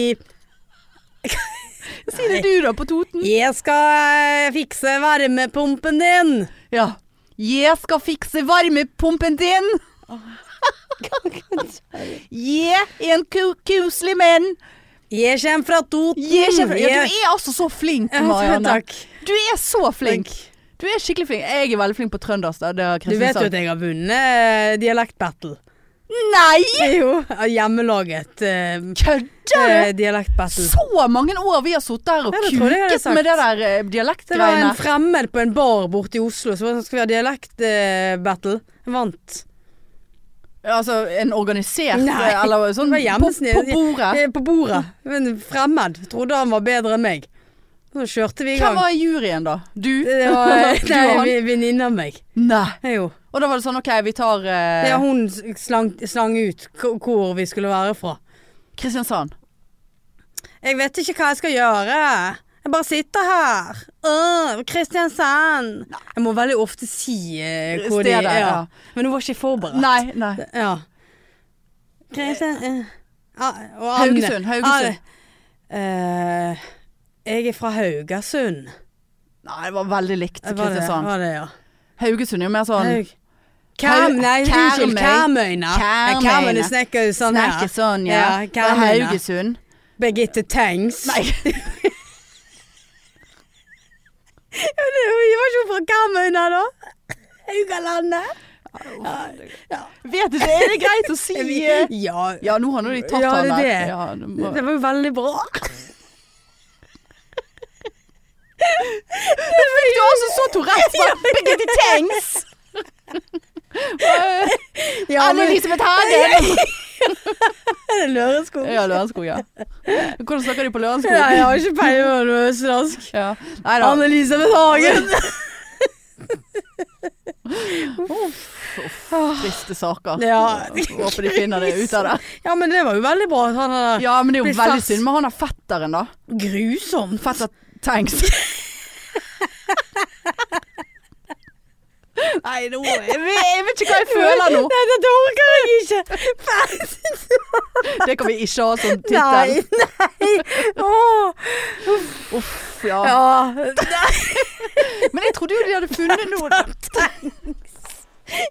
Speaker 2: Si det du, da, på Toten.
Speaker 1: Jeg skal eh, fikse varmepumpen din.
Speaker 2: Ja. Jeg skal fikse varmepumpen din. Jeg er en ku- kuselig menn.
Speaker 1: Jeg kommer fra Toten.
Speaker 2: Jeg er kjempe- Ja, du er altså så flink,
Speaker 1: Mm, Ja,
Speaker 2: Marianne.
Speaker 1: Takk.
Speaker 2: Du er så flink.
Speaker 1: Takk.
Speaker 2: Du er skikkelig flink. Jeg er veldig flink på trøndersk. da. Det har
Speaker 1: Du
Speaker 2: Kristin
Speaker 1: vet jo
Speaker 2: sagt.
Speaker 1: at jeg har vunnet eh, dialektbattle.
Speaker 2: Nei!
Speaker 1: Jo, av hjemmelaget eh,
Speaker 2: Kødder du?
Speaker 1: eh, dialektbattle.
Speaker 2: Så mange år vi har sittet her og
Speaker 1: Ja, det tror jeg jeg hadde
Speaker 2: kuket med det
Speaker 1: sagt.
Speaker 2: der eh,
Speaker 1: Det var en
Speaker 2: dialektgreiene.
Speaker 1: fremmed på en bar borte i Oslo, så var det sånn, skal vi ha dialektbattle. Jeg vant.
Speaker 2: Altså en organisert
Speaker 1: Nei.
Speaker 2: eh, eller sånn
Speaker 1: Det var
Speaker 2: på,
Speaker 1: hjemmesnitt.
Speaker 2: på bordet.
Speaker 1: Eh, På bordet. En fremmed. Trodde han var bedre enn meg. Så kjørte vi i
Speaker 2: Hvem
Speaker 1: gang.
Speaker 2: var i juryen da? Du?
Speaker 1: Det var
Speaker 2: Du
Speaker 1: nei,
Speaker 2: og han?
Speaker 1: en venninne av meg.
Speaker 2: Nei.
Speaker 1: Ja, Jo.
Speaker 2: Og da var det sånn OK, vi tar eh,
Speaker 1: Ja, hun slang, slang ut k- hvor vi skulle være fra.
Speaker 2: Kristiansand.
Speaker 1: Jeg vet ikke hva jeg skal gjøre. Jeg bare sitter her. Øh, Kristiansand. Jeg må veldig ofte si eh, hvor de
Speaker 2: Stedet,
Speaker 1: er. Ja.
Speaker 2: ja.
Speaker 1: Men hun var ikke forberedt.
Speaker 2: Nei, nei.
Speaker 1: Ja. Kristiansand og Anne.
Speaker 2: Haugesund. Haugesund.
Speaker 1: Anne. Eh, jeg er fra Haugesund.
Speaker 2: Nei, det var veldig likt
Speaker 1: Eh, Var det,
Speaker 2: Kristiansand.
Speaker 1: var det ja.
Speaker 2: Haugesund er jo mer sånn
Speaker 1: Haug. Kæm, nei,
Speaker 2: Kærmøy.
Speaker 1: unnskyld. Kærmøyne.
Speaker 2: Kærmøyne.
Speaker 1: Kærmøyne snakker jo sånn
Speaker 2: Snakker
Speaker 1: her.
Speaker 2: sånn, ja.
Speaker 1: Ja,
Speaker 2: Det er
Speaker 1: Kærmøyne.
Speaker 2: Haugesund.
Speaker 1: Birgitte Tengs.
Speaker 2: Nei.
Speaker 1: Hun var ikke fra Karmøyna, da? Haugalandet?
Speaker 2: Vet ikke, er det greit å si? eh?
Speaker 1: Ja,
Speaker 2: Ja, nå har nå de tatt
Speaker 1: Ja,
Speaker 2: han
Speaker 1: det
Speaker 2: der.
Speaker 1: er det.
Speaker 2: Ja, det må-
Speaker 1: det var jo veldig bra.
Speaker 2: Du har altså så Tourettes, bare Birgitte Tengs!
Speaker 1: Ja,
Speaker 2: Anne-Elisabeth Hagen!
Speaker 1: er det Lørenskog?
Speaker 2: Ja, Lørenskog, ja. Hvordan snakker de på Lørenskog?
Speaker 1: Nei, jeg har ikke peiling på noe østlandsk.
Speaker 2: Ja. Nei da.
Speaker 1: Anne-Elisabeth Hagen.
Speaker 2: Triste saker.
Speaker 1: Ja.
Speaker 2: Håper de finner det ut av det.
Speaker 1: ja, men det var jo veldig bra. at Han er
Speaker 2: Ja, men det er jo
Speaker 1: Blir
Speaker 2: veldig
Speaker 1: fast.
Speaker 2: synd med han er fetteren, da.
Speaker 1: grusom.
Speaker 2: Fetter Tanks.
Speaker 1: Nei, nå
Speaker 2: Jeg vet, jeg vet ikke hva jeg føler nå.
Speaker 1: Nei, dette orker jeg ikke.
Speaker 2: Det kan vi ikke ha som tittel.
Speaker 1: Nei, nei. Åh.
Speaker 2: Uff, ja.
Speaker 1: Ja.
Speaker 2: Men jeg trodde jo de hadde funnet noe.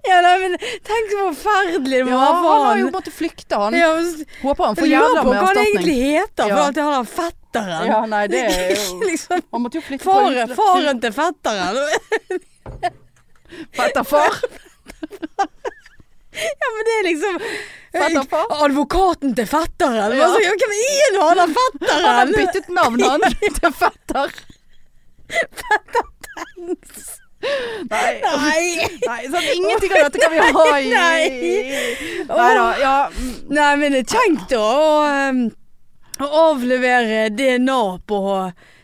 Speaker 1: ja nei, men tenk så forferdelig det må
Speaker 2: Ja,
Speaker 1: være
Speaker 2: han
Speaker 1: for
Speaker 2: har jo
Speaker 1: han.
Speaker 2: måttet flykte, han.
Speaker 1: Ja, men-
Speaker 2: Håper han får
Speaker 1: Jeg lurer
Speaker 2: jævla
Speaker 1: på
Speaker 2: med
Speaker 1: hva han egentlig
Speaker 2: erstatning.
Speaker 1: heter, for
Speaker 2: Ja.
Speaker 1: at han har fetteren.
Speaker 2: Ja, nei, det er jo
Speaker 1: liksom,
Speaker 2: Han måtte jo flytte
Speaker 1: faren, faren til fetteren.
Speaker 2: Fetter far.
Speaker 1: Ja, men det er liksom
Speaker 2: Fetter far?
Speaker 1: Advokaten til fetteren.
Speaker 2: Ja.
Speaker 1: Ja. Altså, hvem er nå han der fetteren?
Speaker 2: Han har byttet navn han til fetter. Nei,
Speaker 1: Nei.
Speaker 2: nei sånn, ingenting av dette kan vi ha i
Speaker 1: Nei.
Speaker 2: Neida, ja. mm.
Speaker 1: Nei, men det er kjekt da å, ehm, å avlevere DNA på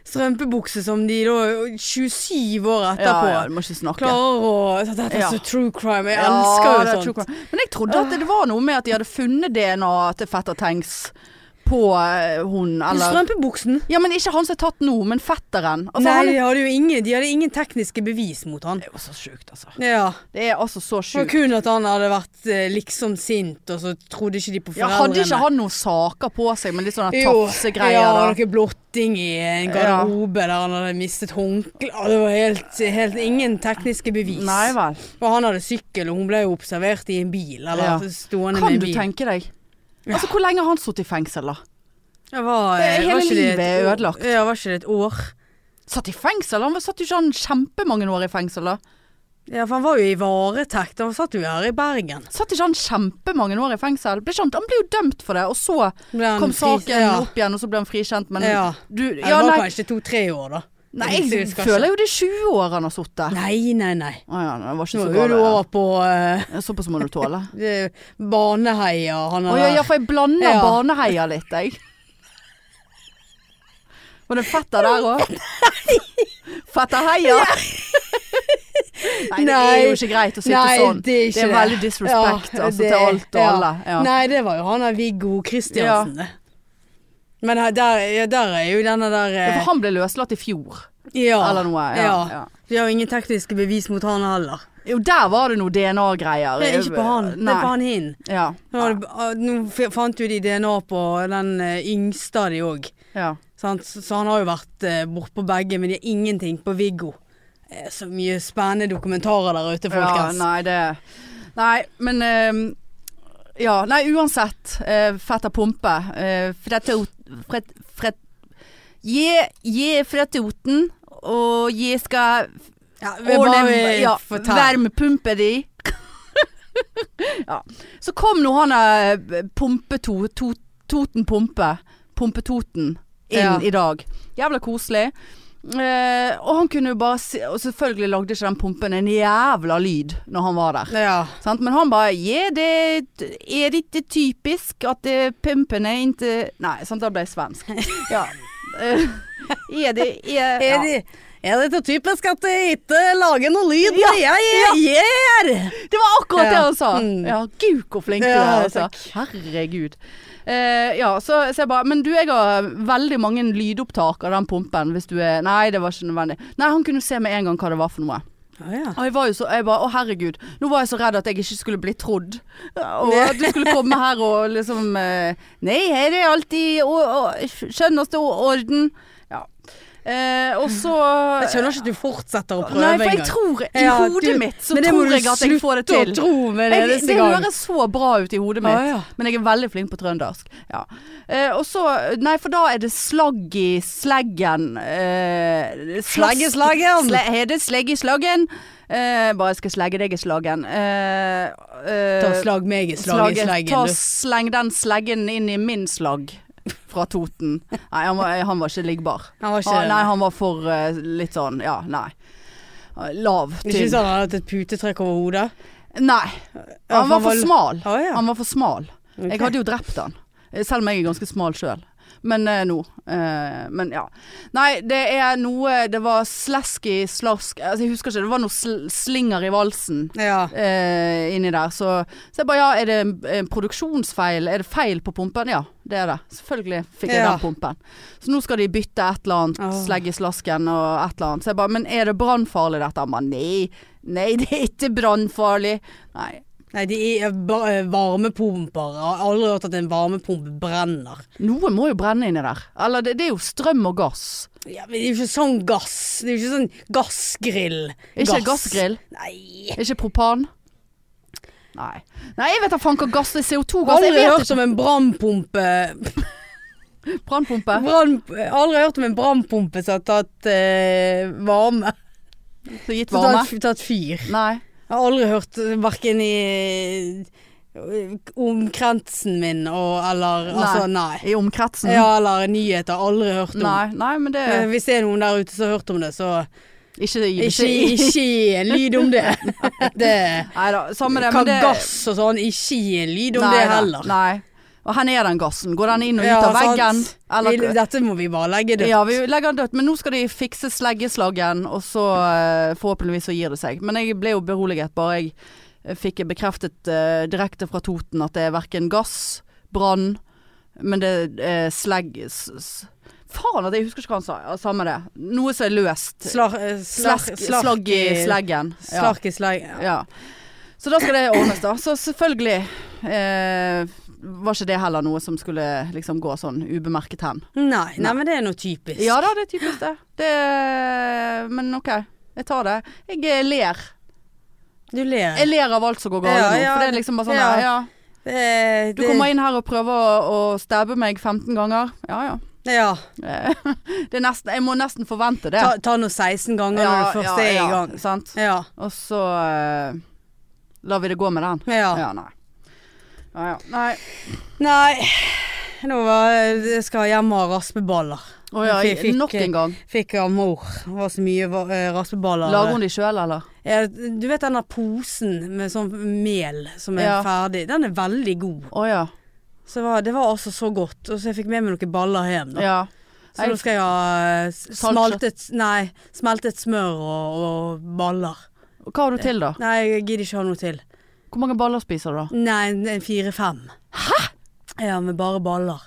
Speaker 1: strømpebukse som de da 27 år
Speaker 2: ja,
Speaker 1: etterpå
Speaker 2: ja, du må ikke snakke.
Speaker 1: klarer å så Dette er
Speaker 2: Ja.
Speaker 1: så true crime. Jeg
Speaker 2: Ja,
Speaker 1: elsker
Speaker 2: det er
Speaker 1: jo
Speaker 2: true
Speaker 1: sånt.
Speaker 2: crime. Men jeg trodde at det var noe med at de hadde funnet DNA til fetter Tengs på eh, hun, eller
Speaker 1: Strømpebuksen?
Speaker 2: Ja, men ikke han som er tatt nå, men fetteren. Altså,
Speaker 1: Nei,
Speaker 2: han
Speaker 1: de hadde jo ingen, de hadde ingen tekniske bevis mot han.
Speaker 2: Det er jo så sjukt, altså.
Speaker 1: Ja.
Speaker 2: Det er altså så
Speaker 1: Det var
Speaker 2: sjukt.
Speaker 1: kun at han hadde vært eh, liksom sint, og så trodde ikke de på
Speaker 2: Ja,
Speaker 1: foreldrene.
Speaker 2: hadde ikke han noen saker på seg med litt sånne
Speaker 1: Jo,
Speaker 2: tafsegreier?
Speaker 1: Ja,
Speaker 2: da?
Speaker 1: noe blotting i en garderobe der han hadde mistet håndkle. Ja, Det var helt, helt ingen tekniske bevis.
Speaker 2: Nei vel.
Speaker 1: Og han hadde sykkel, og hun ble jo observert i en bil.
Speaker 2: Ja.
Speaker 1: Eller stående
Speaker 2: Kan
Speaker 1: med en
Speaker 2: du
Speaker 1: bil.
Speaker 2: tenke deg? Altså, Hvor lenge har han sittet i fengsel, da?
Speaker 1: Det var, eh,
Speaker 2: Det er hele
Speaker 1: var ikke det et
Speaker 2: livet er
Speaker 1: år-
Speaker 2: ødelagt.
Speaker 1: Ja, var ikke det et år?
Speaker 2: Satt i fengsel? Han var- satt jo ikke han kjempemange år i fengsel, da?
Speaker 1: Ja, for han var jo i varetekt. Han satt jo her i Bergen.
Speaker 2: Satt ikke han kjempemange år i fengsel? Ble ikke han, han ble jo dømt for det, og så
Speaker 1: Ble han
Speaker 2: kom
Speaker 1: fris-
Speaker 2: saken
Speaker 1: ja.
Speaker 2: opp igjen, og så ble han frikjent, men
Speaker 1: Ja.
Speaker 2: du
Speaker 1: Ja,
Speaker 2: Ja,
Speaker 1: det var
Speaker 2: nei,
Speaker 1: kanskje to-tre år, da.
Speaker 2: nei
Speaker 1: Det
Speaker 2: jeg
Speaker 1: husker
Speaker 2: føler jo det er 20 år han har sittet.
Speaker 1: Nei, nei, nei.
Speaker 2: Å ja, det var ikke
Speaker 1: Nå
Speaker 2: så
Speaker 1: er jo du
Speaker 2: galt.
Speaker 1: over på eh,
Speaker 2: ja. Såpass må du tåle.
Speaker 1: det- Baneheia. eh, Han
Speaker 2: Å ja, ja, for jeg blander
Speaker 1: Ja.
Speaker 2: barneheia litt, jeg. Var det fetter der òg? Fetterheia? Nei, det er jo ikke greit å sitte
Speaker 1: Nei,
Speaker 2: sånn.
Speaker 1: det er ikke
Speaker 2: det er veldig disrespect
Speaker 1: Ja,
Speaker 2: altså,
Speaker 1: det-
Speaker 2: til alt og
Speaker 1: ja.
Speaker 2: alle. Ja.
Speaker 1: Nei, det var jo han der Viggo Kristiansen, det. Men her- der, ja, der er jo denne der
Speaker 2: Ja,
Speaker 1: eh,
Speaker 2: For han ble løslatt i fjor,
Speaker 1: Ja.
Speaker 2: eller noe. Ja,
Speaker 1: ja.
Speaker 2: ja.
Speaker 1: De har jo ingen tekniske bevis mot han heller.
Speaker 2: Jo, der var det noe DNA-greier.
Speaker 1: Nei, ikke på han. Det
Speaker 2: Nei.
Speaker 1: er på han hin.
Speaker 2: Ja.
Speaker 1: Nå, har det- ah, nå f- fant jo de DNA på den eh, yngste av de òg.
Speaker 2: ja.
Speaker 1: Så så han har jo vært eh, bortpå begge, men de har ingenting på Viggo. Eh, Så mye spennende dokumentarer der ute,
Speaker 2: Ja,
Speaker 1: folkens.
Speaker 2: nei, det Nei, men ehm, Ja, nei, uansett. eh, fetter Pumpe. Uh, fret, fret, je, je fra Toten, og je skal
Speaker 1: Ja, vi bare
Speaker 2: ordne
Speaker 1: vil
Speaker 2: ja,
Speaker 1: fortelle.
Speaker 2: varmepumpe di. ja. Så kom nå han eh, Pumpe to, to, Toten Pumpe, Pumpe Toten, inn
Speaker 1: Ja.
Speaker 2: i dag. Jævla koselig. Eh, og han kunne jo bare si, Og selvfølgelig lagde ikke den pumpen en jævla lyd når han var der.
Speaker 1: Ja.
Speaker 2: Sant? Men han bare «Ja, det er ikke typisk at eh, pumpen er ikke Nei, sant, da ble jeg svensk. Ja. Eh, er det er,
Speaker 1: Er,
Speaker 2: ja.
Speaker 1: det, er dette typisk at jeg ikke lager noe lyd
Speaker 2: Ja,
Speaker 1: når jeg gjør?
Speaker 2: Det var akkurat det
Speaker 1: Ja.
Speaker 2: han sa!
Speaker 1: Mm.
Speaker 2: Ja, gud hvor flink du
Speaker 1: Ja,
Speaker 2: er, altså. Herregud. Eh, ja, så, så jeg bare Men du, jeg har veldig mange lydopptak av den pumpen hvis du er Nei, det var ikke nødvendig. Nei, han kunne se med en gang hva det var for noe. Og jeg var jo så Jeg bare Å, herregud. Nå var jeg så redd at jeg ikke skulle bli trodd. Og at du skulle komme her og liksom eh, Nei, her er alltid å, å, skjønneste orden. Ja. Eh, og så
Speaker 1: Jeg skjønner ikke at du fortsetter å prøve
Speaker 2: Nei, for jeg
Speaker 1: engang.
Speaker 2: tror I
Speaker 1: Ja, du-
Speaker 2: hodet mitt så
Speaker 1: Men det må
Speaker 2: tror
Speaker 1: du
Speaker 2: jeg at jeg får det til.
Speaker 1: Slutte å tro med det
Speaker 2: Jeg,
Speaker 1: neste
Speaker 2: det
Speaker 1: gang.
Speaker 2: høres så bra ut i hodet mitt,
Speaker 1: Å, ja.
Speaker 2: men jeg er veldig flink på trøndersk. Ja. Eh, og så Nei, for da er det slagg i sleggen. Eh, slask-
Speaker 1: Slegg i slaggen.
Speaker 2: Sle, er det slegg i slaggen? Eh, bare jeg skal slegge deg i slaggen. Eh, eh,
Speaker 1: Ta slag meg i slag i
Speaker 2: slaget-
Speaker 1: sleggen.
Speaker 2: ta
Speaker 1: du.
Speaker 2: sleng den sleggen inn i min slagg. Fra Toten. Nei, han var, han var ikke liggbar.
Speaker 1: Han var ikke
Speaker 2: Ah, nei, han var for eh, litt sånn, ja, nei. Ah, Lav.
Speaker 1: Ikke
Speaker 2: Tynn.
Speaker 1: sånn at han hadde hatt et putetrekk over hodet?
Speaker 2: Nei.
Speaker 1: Ja,
Speaker 2: Han var for
Speaker 1: vel-
Speaker 2: smal.
Speaker 1: Å, ja.
Speaker 2: Han var for smal.
Speaker 1: Ok.
Speaker 2: Jeg hadde jo drept han. Eh, Selv om jeg er ganske smal sjøl. Men eh, nå. eh, men ja. Nei, det er noe Det var slasky slask altså, Jeg husker ikke. Det var noe sl slinger i valsen
Speaker 1: Ja.
Speaker 2: eh, inni der. Så, så jeg bare ja, er det en, en produksjonsfeil? Er det feil på pumpen? Ja, det er det. Selvfølgelig fikk jeg
Speaker 1: Ja.
Speaker 2: den pumpen. Så nå skal de bytte et eller annet,
Speaker 1: Åh.
Speaker 2: slegge slasken og et eller annet. Så jeg bare, men er det brannfarlig dette? Han bare nei. Nei, det er ikke brannfarlig. Nei.
Speaker 1: Nei, de er ba- eh, varmepumper. Jeg har aldri hørt at en varmepumpe brenner.
Speaker 2: Noe må jo brenne inni der. Eller det, det er jo strøm og gass.
Speaker 1: Ja, men det er jo ikke sånn gass. Det er jo ikke sånn gassgrill.
Speaker 2: Ikke gassgrill?
Speaker 1: Nei.
Speaker 2: Ikke propan. Nei. Nei, jeg vet da faen hva gass er. CO2-gass. Jeg
Speaker 1: Aldri
Speaker 2: vet
Speaker 1: hørt om en brannpumpe
Speaker 2: ikke. Brannpumpe.
Speaker 1: brann- Aldri hørt om en brannpumpe som har tatt eh, varme.
Speaker 2: Så gitt
Speaker 1: Som har
Speaker 2: varme.
Speaker 1: tatt, tatt fyr.
Speaker 2: Nei.
Speaker 1: Jeg har aldri hørt verken i eh, omkretsen min og eller
Speaker 2: Nei.
Speaker 1: Altså, nei.
Speaker 2: I omkretsen.
Speaker 1: Ja, eller nyheter. Aldri hørt om.
Speaker 2: Nei, nei, men det
Speaker 1: Eh, Hvis det er noen der ute som har hørt om det, så
Speaker 2: Ikke,
Speaker 1: Ikke, ikke gi en lyd om det. det
Speaker 2: Nei da, samme det.
Speaker 1: kan
Speaker 2: men det,
Speaker 1: gass og sånn, ikke gi en lyd om
Speaker 2: Nei
Speaker 1: det
Speaker 2: da,
Speaker 1: heller.
Speaker 2: Nei. Og her er den gassen. Går den inn og ut
Speaker 1: Ja,
Speaker 2: av veggen?
Speaker 1: sant.
Speaker 2: Eller,
Speaker 1: Vi- Dette må vi bare legge dødt.
Speaker 2: Ja, vi legger den dødt. Men nå skal de fikse sleggeslaggen, og så eh, forhåpentligvis så gir det seg. Men jeg ble jo beroliget bare jeg eh, fikk bekreftet eh, direkte fra Toten at det er verken gass, brann, men det er slegg... S s Faen at jeg husker ikke hva han sa. Ja, samme det. Noe som er løst.
Speaker 1: Slar, eh, slar,
Speaker 2: Slask, slagg i sleggen. Ja.
Speaker 1: Slark i slegg. Ja.
Speaker 2: Ja. Så da skal det ordnes, da. Så selvfølgelig eh, var ikke det heller noe som skulle liksom gå sånn ubemerket hen.
Speaker 1: Nei, nei, men det er noe typisk.
Speaker 2: Ja da, det er typisk det. det men OK, jeg tar det. Jeg eh, ler.
Speaker 1: Du ler.
Speaker 2: Jeg ler av alt som går galt
Speaker 1: Ja,
Speaker 2: nå.
Speaker 1: ja.
Speaker 2: For det er liksom bare sånn
Speaker 1: Ja.
Speaker 2: ja. ja.
Speaker 1: Eh,
Speaker 2: Du kommer inn her og prøver å, å stabbe meg 15 ganger. Ja ja.
Speaker 1: Ja.
Speaker 2: Eh, Det er nesten, jeg må nesten forvente det.
Speaker 1: Ta, ta nå 16 ganger når du først er i gang.
Speaker 2: Sant?
Speaker 1: Ja.
Speaker 2: Og så eh, lar vi det gå med den.
Speaker 1: ja.
Speaker 2: Ja, nei. Ja, ja. Nei.
Speaker 1: Nei, nå var, jeg skal jeg hjem og ha raspeballer.
Speaker 2: Å ja,
Speaker 1: Fikk- fikk-
Speaker 2: nok en gang.
Speaker 1: Fikk av mor. Det var så mye va- eh, raspeballer.
Speaker 2: Lager hun de sjøl, eller?
Speaker 1: Eh, Du vet den der posen med sånn mel som er
Speaker 2: Ja.
Speaker 1: ferdig, den er veldig god.
Speaker 2: Å ja.
Speaker 1: Så det var, det var altså så godt. Og så jeg fikk med meg noen baller hjem. Da.
Speaker 2: ja.
Speaker 1: Så nå skal jeg ha eh, s- smaltet, nei, smeltet smør og, og baller.
Speaker 2: Hva har du til, da?
Speaker 1: Nei, jeg gidder ikke ha noe til.
Speaker 2: Hvor mange baller spiser du, da?
Speaker 1: Nei, en- en fire-fem. Hæ? Ja, men bare baller.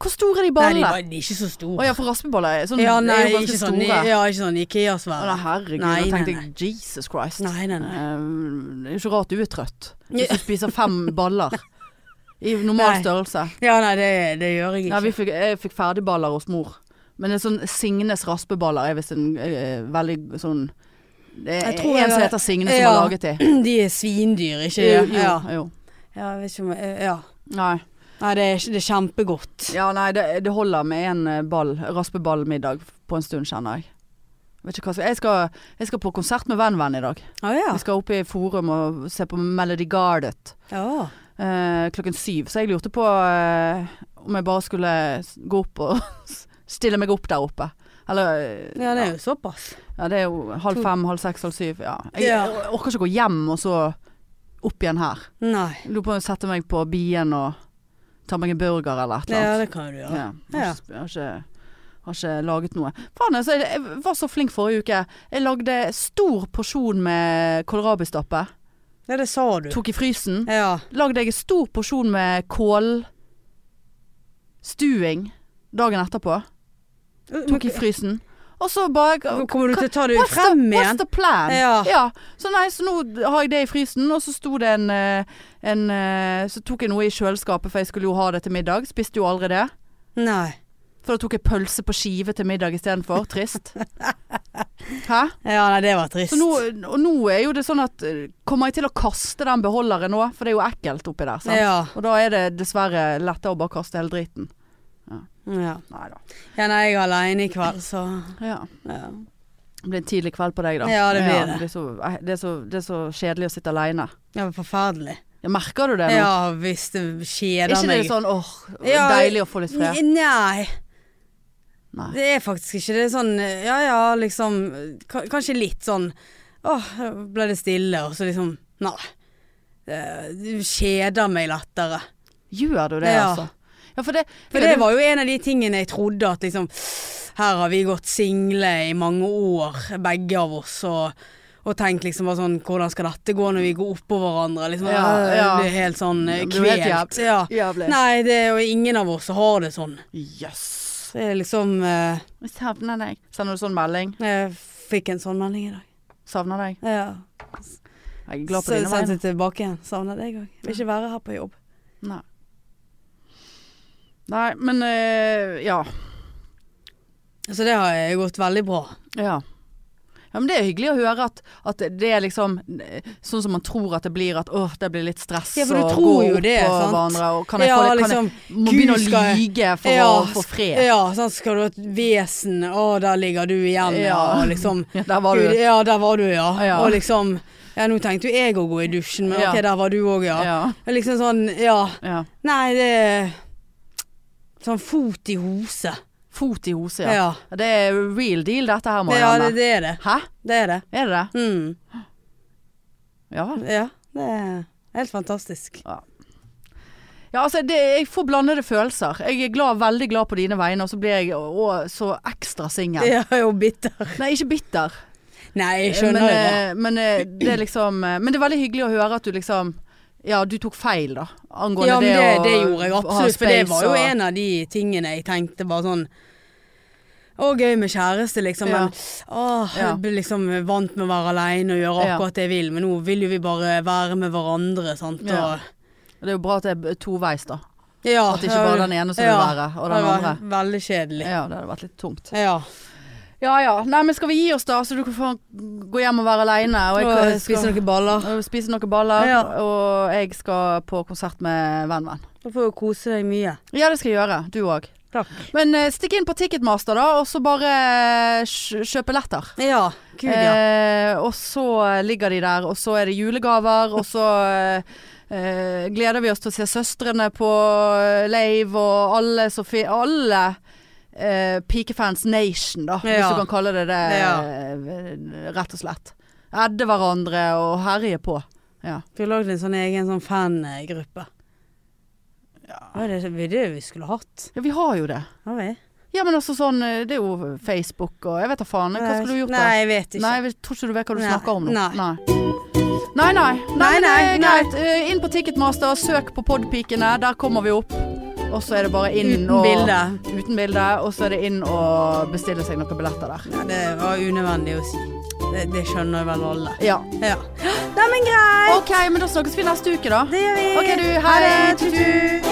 Speaker 2: Hvor store er de
Speaker 1: Nei, de
Speaker 2: ballene?
Speaker 1: var de er ikke så
Speaker 2: Å
Speaker 1: store.
Speaker 2: ja, for raspeballer er sånn,
Speaker 1: Ja, nei,
Speaker 2: er jo ganske
Speaker 1: ikke sånn,
Speaker 2: store.
Speaker 1: ja, ikke sånn
Speaker 2: Å, nei,
Speaker 1: Ikea-svære.
Speaker 2: herregud,
Speaker 1: Nei,
Speaker 2: da tenkte
Speaker 1: nei,
Speaker 2: jeg Jesus Christ.
Speaker 1: Nei, nei, nei.
Speaker 2: Eh, det er jo ikke rart du er trøtt.
Speaker 1: Ja.
Speaker 2: Hvis du spiser fem baller i normal
Speaker 1: Nei.
Speaker 2: størrelse.
Speaker 1: Ja, nei, det, det gjør jeg
Speaker 2: Ja,
Speaker 1: ikke.
Speaker 2: vi fikk, jeg fikk ferdigballer hos mor. Men en sånn Signes raspeballer er visst en eh, veldig sånn Det er
Speaker 1: Jeg tror jeg
Speaker 2: en som
Speaker 1: har-
Speaker 2: heter Signe som
Speaker 1: Ja.
Speaker 2: har laget de.
Speaker 1: De er svindyr, ikke
Speaker 2: Jo,
Speaker 1: det? Ja.
Speaker 2: jo, jo.
Speaker 1: ja, jeg vet ikke om jeg Ja.
Speaker 2: Nei.
Speaker 1: Nei, det er, det er kjempegodt.
Speaker 2: Ja, nei, det, det holder med en eh, ball, raspeballmiddag på en stund, kjenner jeg. Vet ikke hva, som- jeg, skal, jeg skal på konsert med Venn Venn i dag.
Speaker 1: Å ja.
Speaker 2: Vi skal opp i Forum og se på Melody Gardet
Speaker 1: Ja.
Speaker 2: eh, klokken syv. Så jeg lurte på eh, om jeg bare skulle s- gå opp og stille meg opp der oppe. Eller eh,
Speaker 1: ja, det er jo såpass.
Speaker 2: ja, det er jo halv fem, halv seks, halv syv. Ja. Jeg,
Speaker 1: Ja.
Speaker 2: jeg orker ikke gå hjem og så opp igjen her.
Speaker 1: Nei.
Speaker 2: Jeg Lurer på om jeg setter meg på Bien og tar meg en burger eller et eller annet.
Speaker 1: Ja, det kan du gjøre.
Speaker 2: Ja. Jeg har, ikke, jeg har, ikke, har ikke laget noe. Faen, altså, jeg, jeg var så flink forrige uke. Jeg lagde stor porsjon med kålrabistappe.
Speaker 1: Ja, det sa du.
Speaker 2: Tok i frysen.
Speaker 1: Ja.
Speaker 2: Lagde jeg en stor porsjon med kålstuing dagen etterpå. Tok i frysen. Og så bare
Speaker 1: Men Kommer du til å ta det
Speaker 2: What's
Speaker 1: frem
Speaker 2: the, what's
Speaker 1: igjen?
Speaker 2: the plan?
Speaker 1: Ja.
Speaker 2: Så nei, så nå har jeg det i frysen, og så sto det en, eh, en eh, Så tok jeg noe i kjøleskapet, for jeg skulle jo ha det til middag. Spiste jo aldri det.
Speaker 1: Nei.
Speaker 2: For da tok jeg pølse på skive til middag istedenfor. Trist. Hæ?
Speaker 1: Ja, nei, det var trist.
Speaker 2: Så nå, og nå er jo det sånn at eh, Kommer jeg til å kaste den beholderen nå? For det er jo ekkelt oppi der. Sant?
Speaker 1: ja.
Speaker 2: Og da er det dessverre lettere å bare kaste hele driten.
Speaker 1: ja.
Speaker 2: Nei da.
Speaker 1: Ja, nei, jeg er aleine i kveld, så
Speaker 2: Ja.
Speaker 1: ja.
Speaker 2: Det blir en tidlig kveld på deg, da.
Speaker 1: Ja, det blir det.
Speaker 2: blir så, eh, det, er så, det er så kjedelig å sitte aleine.
Speaker 1: Det var forferdelig.
Speaker 2: Ja, merker du det nå?
Speaker 1: Ja, hvis det
Speaker 2: er
Speaker 1: kjeder
Speaker 2: ikke det
Speaker 1: meg.
Speaker 2: sånn åh,
Speaker 1: Ja,
Speaker 2: deilig å få litt fred?
Speaker 1: N- Nei,
Speaker 2: Nei.
Speaker 1: det er faktisk ikke det. er Sånn ja ja, liksom ka- Kanskje litt sånn Åh, ble det stille, og så liksom Nei. Det det kjeder meg lettere.
Speaker 2: Gjør du det,
Speaker 1: Ja.
Speaker 2: altså? Ja, for det,
Speaker 1: For det var jo en av de tingene jeg trodde at liksom Her har vi gått single i mange år, begge av oss, og, og tenkt liksom bare sånn Hvordan skal dette gå når vi går oppå hverandre? Liksom,
Speaker 2: Ja,
Speaker 1: øh,
Speaker 2: ja.
Speaker 1: Det blir helt sånn eh,
Speaker 2: Det blir helt
Speaker 1: kvelt. Ja.
Speaker 2: Jævlig.
Speaker 1: Nei, det er jo ingen av oss som har det sånn.
Speaker 2: Jøss.
Speaker 1: Det er liksom eh,
Speaker 2: Jeg savner deg. Sender du sånn melding?
Speaker 1: Jeg fikk en sånn melding i dag.
Speaker 2: Savner deg.
Speaker 1: Ja.
Speaker 2: Jeg er
Speaker 1: Så
Speaker 2: glad på dine
Speaker 1: sendte
Speaker 2: vegne.
Speaker 1: jeg tilbake igjen. Savner deg òg. Vil ikke være her på jobb.
Speaker 2: Nei. Nei, men eh, ja.
Speaker 1: Så det har eh, gått veldig bra.
Speaker 2: ja. Ja, men Det er hyggelig å høre at, at det er liksom eh, sånn som man tror at det blir. At åh, det blir litt stress
Speaker 1: Ja, for du
Speaker 2: og
Speaker 1: tror
Speaker 2: gå
Speaker 1: jo
Speaker 2: opp
Speaker 1: det,
Speaker 2: på
Speaker 1: sant?
Speaker 2: hverandre. Og kan jeg,
Speaker 1: ja,
Speaker 2: få, litt- kan
Speaker 1: liksom,
Speaker 2: jeg må begynne
Speaker 1: Gud, skal
Speaker 2: å
Speaker 1: jeg-
Speaker 2: lyge for
Speaker 1: Ja,
Speaker 2: å få fred.
Speaker 1: ja, sånn skal du ha et vesen. Å, der ligger du igjen, ja.
Speaker 2: Ja.
Speaker 1: Og liksom
Speaker 2: Ja, der var
Speaker 1: Gud,
Speaker 2: du. Ah,
Speaker 1: Ja, der var du, ja.
Speaker 2: Ja.
Speaker 1: Og liksom Ja, nå tenkte jo jeg å gå i dusjen, men
Speaker 2: Ja.
Speaker 1: ok, der var du òg, ja.
Speaker 2: Ja.
Speaker 1: Liksom sånn, ja.
Speaker 2: ja.
Speaker 1: Nei, det er Sånn fot i hose.
Speaker 2: Fot i hose, ja.
Speaker 1: Ja.
Speaker 2: Det er real deal dette her,
Speaker 1: Det, ja,
Speaker 2: Marianne.
Speaker 1: det, det er det.
Speaker 2: Hæ?
Speaker 1: Det er det.
Speaker 2: Er det det?
Speaker 1: Mm.
Speaker 2: Ja vel.
Speaker 1: Ja. Det er helt fantastisk.
Speaker 2: Ja, altså, det, jeg får blandede følelser. Jeg er glad, veldig glad på dine vegne, og så blir jeg å, å, så ekstra singel.
Speaker 1: Ja, jo bitter.
Speaker 2: Nei, ikke bitter.
Speaker 1: Nei, jeg
Speaker 2: Men,
Speaker 1: skjønner jo det.
Speaker 2: eh, men eh, det er liksom eh, Men det er veldig hyggelig å høre at du liksom Ja, du tok feil, da. Angående
Speaker 1: Ja, men det,
Speaker 2: å
Speaker 1: det gjorde jeg
Speaker 2: ha
Speaker 1: absolutt. For det
Speaker 2: space
Speaker 1: var jo
Speaker 2: og-
Speaker 1: en av de tingene jeg tenkte bare sånn Å, gøy med kjæreste, liksom.
Speaker 2: Ja.
Speaker 1: Men åh,
Speaker 2: Ja.
Speaker 1: jeg ble liksom vant med å være aleine og gjøre
Speaker 2: Ja.
Speaker 1: akkurat det jeg vil. Men nå vil jo vi bare være med hverandre, sant.
Speaker 2: Ja.
Speaker 1: Og,
Speaker 2: Det er jo bra at det er toveis, da.
Speaker 1: ja,
Speaker 2: At det ikke bare er den ene som vil være, og den
Speaker 1: Ah, det var
Speaker 2: andre.
Speaker 1: Veldig kjedelig.
Speaker 2: Ja, det hadde vært litt tungt.
Speaker 1: Ja.
Speaker 2: Ja ja. Nei, men skal vi gi oss, da? Så du kan få gå hjem og være aleine. Og jeg
Speaker 1: Og
Speaker 2: kan
Speaker 1: spise
Speaker 2: skal-
Speaker 1: noen baller.
Speaker 2: og spise noen baller.
Speaker 1: Ja.
Speaker 2: Og jeg skal på konsert med Venn-Venn.
Speaker 1: Da får du kose deg mye.
Speaker 2: Ja, det skal jeg gjøre. Du òg.
Speaker 1: Takk.
Speaker 2: Men eh, stikk inn på Ticketmaster, da, og så bare eh, kj- kjøp billetter.
Speaker 1: Ja. Gud, ja.
Speaker 2: Eh, og så ligger de der, og så er det julegaver, og så eh, gleder vi oss til å se søstrene på Lave og alle som fi- Alle eh, pikefans nation, da, hvis
Speaker 1: Ja.
Speaker 2: du kan kalle det det,
Speaker 1: Ja.
Speaker 2: eh, rett og slett. Edde hverandre og herje på. Ja.
Speaker 1: Vi har lagd en sånn egen sånn fangruppe. Ja. Det var det vi skulle hatt.
Speaker 2: ja, vi har jo det.
Speaker 1: Har vi?
Speaker 2: Ja, men også sånn eh, Det er jo Facebook og Jeg vet da faen. Hva skulle du gjort da?
Speaker 1: Nei, jeg vet ikke.
Speaker 2: Nei, jeg tror ikke du vet hva du
Speaker 1: Nei.
Speaker 2: snakker om nå.
Speaker 1: Nei.
Speaker 2: Nei. Nei, nei.
Speaker 1: Nei,
Speaker 2: men det er
Speaker 1: nei, nei.
Speaker 2: greit. Eh, Inn på Ticketmaster, søk på Podpikene. Der kommer vi opp. Og så er det bare inn
Speaker 1: Uten
Speaker 2: og
Speaker 1: bilde.
Speaker 2: Uten bilde. Og så er det inn og bestille seg noen billetter der.
Speaker 1: Ja, det var unødvendig å si. Det, det skjønner vel alle.
Speaker 2: Ja.
Speaker 1: Ja. Nei, men greit.
Speaker 2: OK, men da snakkes vi neste uke, da.
Speaker 1: Det gjør vi.
Speaker 2: OK, du.
Speaker 1: Ha
Speaker 2: Hei.
Speaker 1: det.
Speaker 2: Tut-tut.
Speaker 1: Tut-tut.